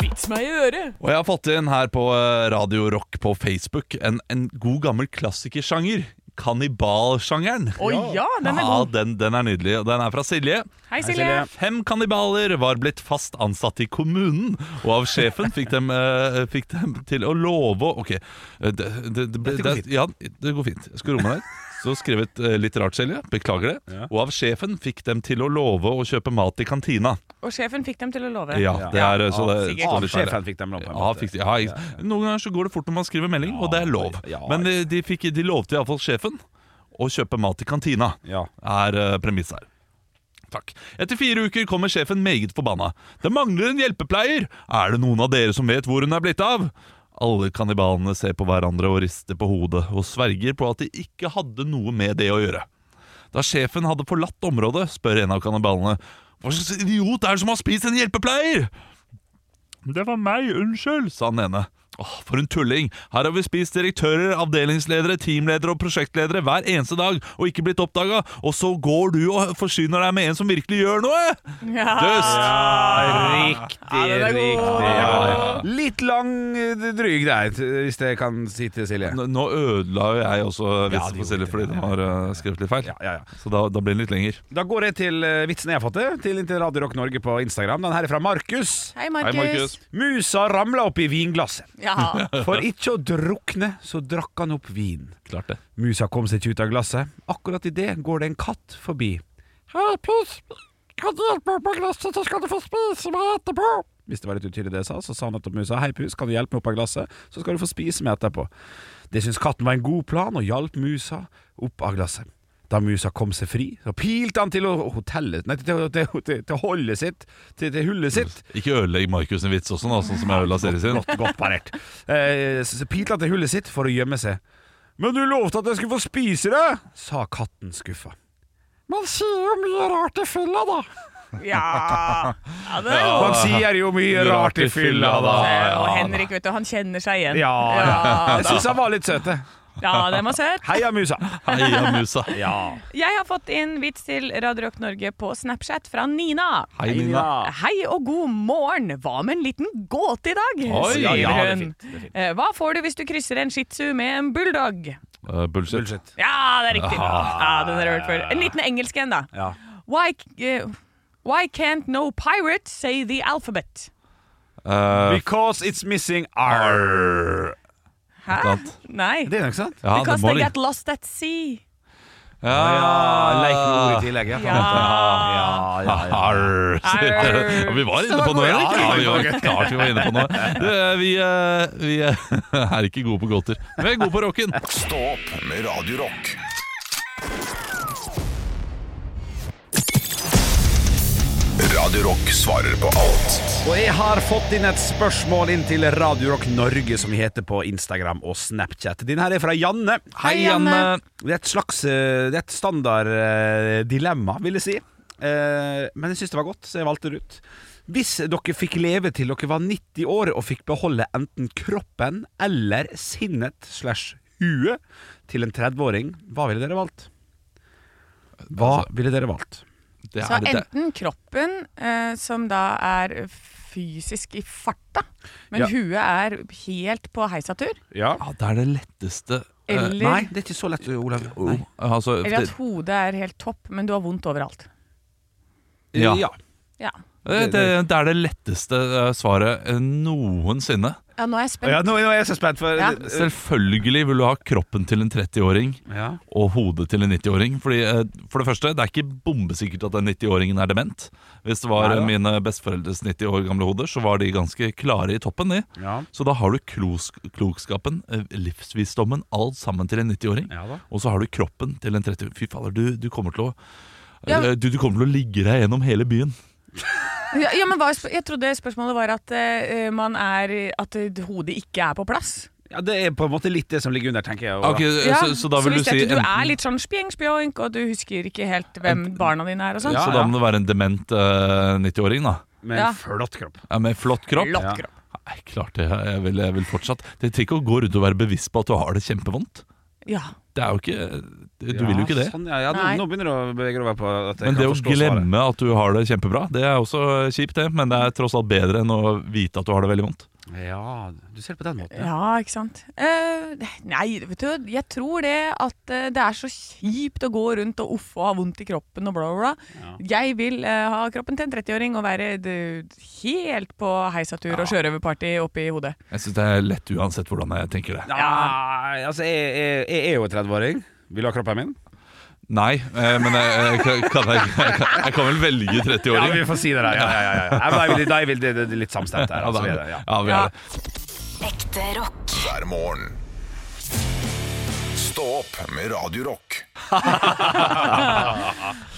Speaker 4: Vits meg i øret!
Speaker 3: Og jeg har fått inn her på eh, Radio Rock på Facebook en, en god gammel klassikersjanger. Kannibalsjangeren.
Speaker 4: Å ja, den er
Speaker 3: Ja,
Speaker 4: god.
Speaker 3: den, den er nydelig. Og den er fra Silje.
Speaker 4: Hei, Silje.
Speaker 3: Fem kannibaler var blitt fast ansatt i kommunen, og av sjefen fikk dem, eh, fikk dem til å love å- Ok, eh, det, det, det, ble-
Speaker 2: Dette går
Speaker 3: det, ja, det går fint. Jeg skal romme deg. Så skrevet eh, litt rart, Silje. Beklager det. Og av sjefen fikk dem til å love å kjøpe mat i kantina.
Speaker 4: Og sjefen fikk dem til å love.
Speaker 3: Ja, det er eh, så det
Speaker 2: av-
Speaker 3: står litt der.
Speaker 2: Avsjefen fikk dem lov på en
Speaker 3: Ja,
Speaker 2: måte.
Speaker 3: fikk de, ja, jeg- Noen ganger så går det fort når man skriver melding, og det er lov.
Speaker 2: ja,
Speaker 3: Men de, de, fikk, de lovte iallfall sjefen å kjøpe mat i kantina,
Speaker 2: Ja.
Speaker 3: er uh, premiss her. Takk. Etter fire uker kommer sjefen meget forbanna. Det mangler en hjelpepleier! Er det noen av dere som vet hvor hun er blitt av? Alle kannibalene ser på hverandre og rister på hodet, og sverger på at de ikke hadde noe med det å gjøre. Da sjefen hadde forlatt området, spør en av kannibalene Hva slags idiot er det som har spist en hjelpepleier? Det var meg, unnskyld, sa den ene. Åh, for en tulling. Her har vi spist direktører, avdelingsledere, teamledere og prosjektledere hver eneste dag og ikke blitt oppdaga, og så går du og forsyner deg med en som virkelig gjør noe!
Speaker 4: Ja.
Speaker 3: Døst!
Speaker 2: Ah, Riktig,
Speaker 4: Ja, den er
Speaker 2: riktig.
Speaker 4: god.
Speaker 2: Ja. Litt lang eh, dryg der, t- hvis det kan si til Silje.
Speaker 3: Nå- Nå ødela jo jeg også
Speaker 2: Ja, det
Speaker 3: vitsen for
Speaker 2: gjorde
Speaker 3: Silje
Speaker 2: det,
Speaker 3: fordi den har eh, skrevet litt feil.
Speaker 2: Ja, ja, ja.
Speaker 3: Så da, da blir den litt lenger.
Speaker 2: Da går jeg til eh, vitsen jeg har fått, eh, til inntil Radio Rock Norge på Instagram. Den her er fra Markus.
Speaker 4: Hei,
Speaker 3: Hei, Markus.
Speaker 4: Markus.
Speaker 2: Musa ramla opp i vinglasset.
Speaker 4: Ja.
Speaker 2: For ikke å drukne, så drakk han opp vin.
Speaker 3: Klart det.
Speaker 2: Musa kom seg ikke ut av glasset. Akkurat idet går det en katt forbi. Hei, pus! Kan du hjelpe meg opp av glasset, så skal du få spise meg etterpå? Hvis det var litt utydelig det jeg sa, så sa han til musa Hei, pus, kan du hjelpe meg opp av glasset, så skal du få spise meg etterpå. Det syntes katten var en god plan, og hjalp musa opp av glasset. Da musa kom seg fri, så pilte han til å- hotellet Nei, til, til, til, til holdet sitt, til, til hullet sitt.
Speaker 3: Ikke ødelegg Markus' sin vits også, nå, sånn som jeg ødela serien sin.
Speaker 2: Godt, godt parert. Eh, s- s- Pilt han til hullet sitt for å gjemme seg. Men du lovte at jeg skulle få spise det! sa katten skuffa. Man sier jo mye rart i fylla, da.
Speaker 4: ja. ja det er
Speaker 2: Man
Speaker 4: jo
Speaker 2: sier jo mye rart i fylla, da.
Speaker 4: Og Henrik, vet du, han kjenner seg igjen.
Speaker 2: Ja,
Speaker 4: ja,
Speaker 2: Jeg syns han var litt søte.
Speaker 4: ja den var søt.
Speaker 2: Heia musa.
Speaker 3: Heia musa.
Speaker 2: Ja.
Speaker 4: Jeg har fått inn vits til Radio Rock Norge på Snapchat fra Nina.
Speaker 3: Hei, Nina.
Speaker 4: Hei og god morgen! Hva med en liten gåte i dag?
Speaker 3: Oi,
Speaker 4: sier
Speaker 3: ja, ja, det er
Speaker 4: hun. Eh, Hva får du hvis du krysser en shih tzu med en bulldog?
Speaker 3: Eh, bullshit.
Speaker 2: Bullshit.
Speaker 4: Ja, det er riktig. Ja, den har jeg hørt før. En liten engelsk en, da.
Speaker 2: Ja.
Speaker 4: Why, eh, why can't no pirate say the alphabet?
Speaker 3: Eh,
Speaker 2: Because it's missing R.
Speaker 4: Hæ?
Speaker 3: sant.
Speaker 4: Nei.
Speaker 2: Det er nok sant?
Speaker 3: ja, det
Speaker 4: Because
Speaker 3: må
Speaker 4: they
Speaker 3: de.
Speaker 4: get lost at sea.
Speaker 2: Ja,
Speaker 3: Ja,
Speaker 2: Leikord i tillegg. Ja. Ja, ja, ja.
Speaker 3: Arr.
Speaker 4: Arr.
Speaker 3: Ja, Vi var inne på noe, eller?
Speaker 2: Ja,
Speaker 3: Ja, vi var klart vi var inne på noe. Du, eh, vi, eh, vi eh, er ikke gode på gåter, men vi er gode på rocken.
Speaker 1: Stå opp med Radio Rock. Radio Rock svarer på alt
Speaker 2: Og jeg har fått inn et spørsmål inn til Radio Rock Norge, som vi heter på Instagram og Snapchat. Din her er fra Janne.
Speaker 3: Hei, Janne.
Speaker 2: Det er et slags eh, Det er et standard eh, dilemma, vil jeg si. Eh, Men jeg syns det var godt, så jeg valgte det ut. Hvis dere fikk leve til dere var 90 år og fikk beholde enten kroppen eller sinnet slash huet til en 30-åring, hva ville dere valgt? Hva
Speaker 3: Altså-
Speaker 2: ville dere valgt?
Speaker 3: Det
Speaker 4: Så
Speaker 3: er det.
Speaker 4: enten kroppen, eh, som da er fysisk i farta, men
Speaker 2: Ja.
Speaker 4: huet er helt på heisatur.
Speaker 2: Ja.
Speaker 3: Ja, det er det letteste eh,
Speaker 4: Eller,
Speaker 2: Nei, det er ikke så lett, Olav. Nei.
Speaker 3: altså,
Speaker 4: eller at hodet er helt topp, men du har vondt overalt.
Speaker 3: Ja.
Speaker 2: ja.
Speaker 4: Ja,
Speaker 3: det, det, det er det letteste eh, svaret eh, noensinne.
Speaker 4: ja nå er jeg spent.
Speaker 2: Ja, nå, nå er jeg så spent for
Speaker 4: Ja.
Speaker 3: Selvfølgelig vil du ha kroppen til en 30-åring
Speaker 2: Ja.
Speaker 3: og hodet til en 90-åring. Fordi, eh, For det første, det er ikke bombesikkert at den 90-åringen er dement. Hvis det var
Speaker 2: Nei da.
Speaker 3: eh, mine besteforeldres 90 år gamle hoder, så var de ganske klare i toppen, de.
Speaker 2: Ja.
Speaker 3: Så da har du klos klokskapen, eh, livsvisdommen, alt sammen til en 90-åring.
Speaker 2: Ja da.
Speaker 3: Og så har du kroppen til en 30 Fy fader, du, du kommer til å
Speaker 4: Ja, men-
Speaker 3: eh, du, du kommer til å ligge deg gjennom hele byen.
Speaker 4: Ja, ja, men hva, er sp- jeg trodde spørsmålet var at, eh, man er, at eh, hodet ikke er på plass.
Speaker 2: Ja, det er på en måte litt det som ligger under, tenker jeg. Ola.
Speaker 3: Ok,
Speaker 4: Ja,
Speaker 3: Eh, så, så da vil
Speaker 4: hvis
Speaker 3: du si
Speaker 4: dette- du er
Speaker 3: enten-
Speaker 4: litt sånn spjeng, spjoink, og du husker ikke helt hvem barna dine er og sånn.
Speaker 2: Ja,
Speaker 3: Så da må det være en dement eh, 90-åring, da.
Speaker 2: Med en
Speaker 4: Ja.
Speaker 2: flott kropp.
Speaker 3: Ja, med flott kropp.
Speaker 4: Flott
Speaker 2: Ja.
Speaker 4: kropp.
Speaker 3: Nei, klart det. Jeg vil, jeg vil fortsatt Det trenger ikke å gå rundt og være bevisst på at du har det kjempevondt.
Speaker 4: Ja.
Speaker 3: Det er jo ikke Du vil jo ikke det.
Speaker 2: Sånn, ja, ja, nå,
Speaker 4: Nei.
Speaker 2: nå begynner du å bevege deg over på at jeg
Speaker 3: Men
Speaker 2: kan
Speaker 3: det å
Speaker 2: forstå svaret.
Speaker 3: glemme at du har det kjempebra, det er også kjipt, det. Men det er tross alt bedre enn å vite at du har det veldig vondt.
Speaker 2: Ja, du ser det på den måten. Ja.
Speaker 4: Ja, ikke sant. Eh, nei, vet du, jeg tror det at eh, det er så kjipt å gå rundt og offe og ha vondt i kroppen og bla, bla, bla. Jeg vil eh, ha kroppen til en 30-åring og være d- helt på heisatur og sjørøverparty oppi hodet.
Speaker 3: Jeg syns det er lett uansett hvordan jeg tenker det.
Speaker 2: altså, jeg, jeg, jeg er jo 30-åring. Vil du ha kroppen min?
Speaker 3: Nei, eh, men jeg, jeg, kan- kan, jeg, jeg, kan, jeg kan vel velge
Speaker 2: Ja,
Speaker 3: 30-åring.
Speaker 2: vi får si det der. Ja, ja, ja, ja. Nei, men Da er vi, da er vi det, det, det er litt samstemt her. Altså, vi er det, ja.
Speaker 3: Ja, vi er det.
Speaker 6: Ekte rock.
Speaker 1: hver morgen. Stå opp med Radio Rock.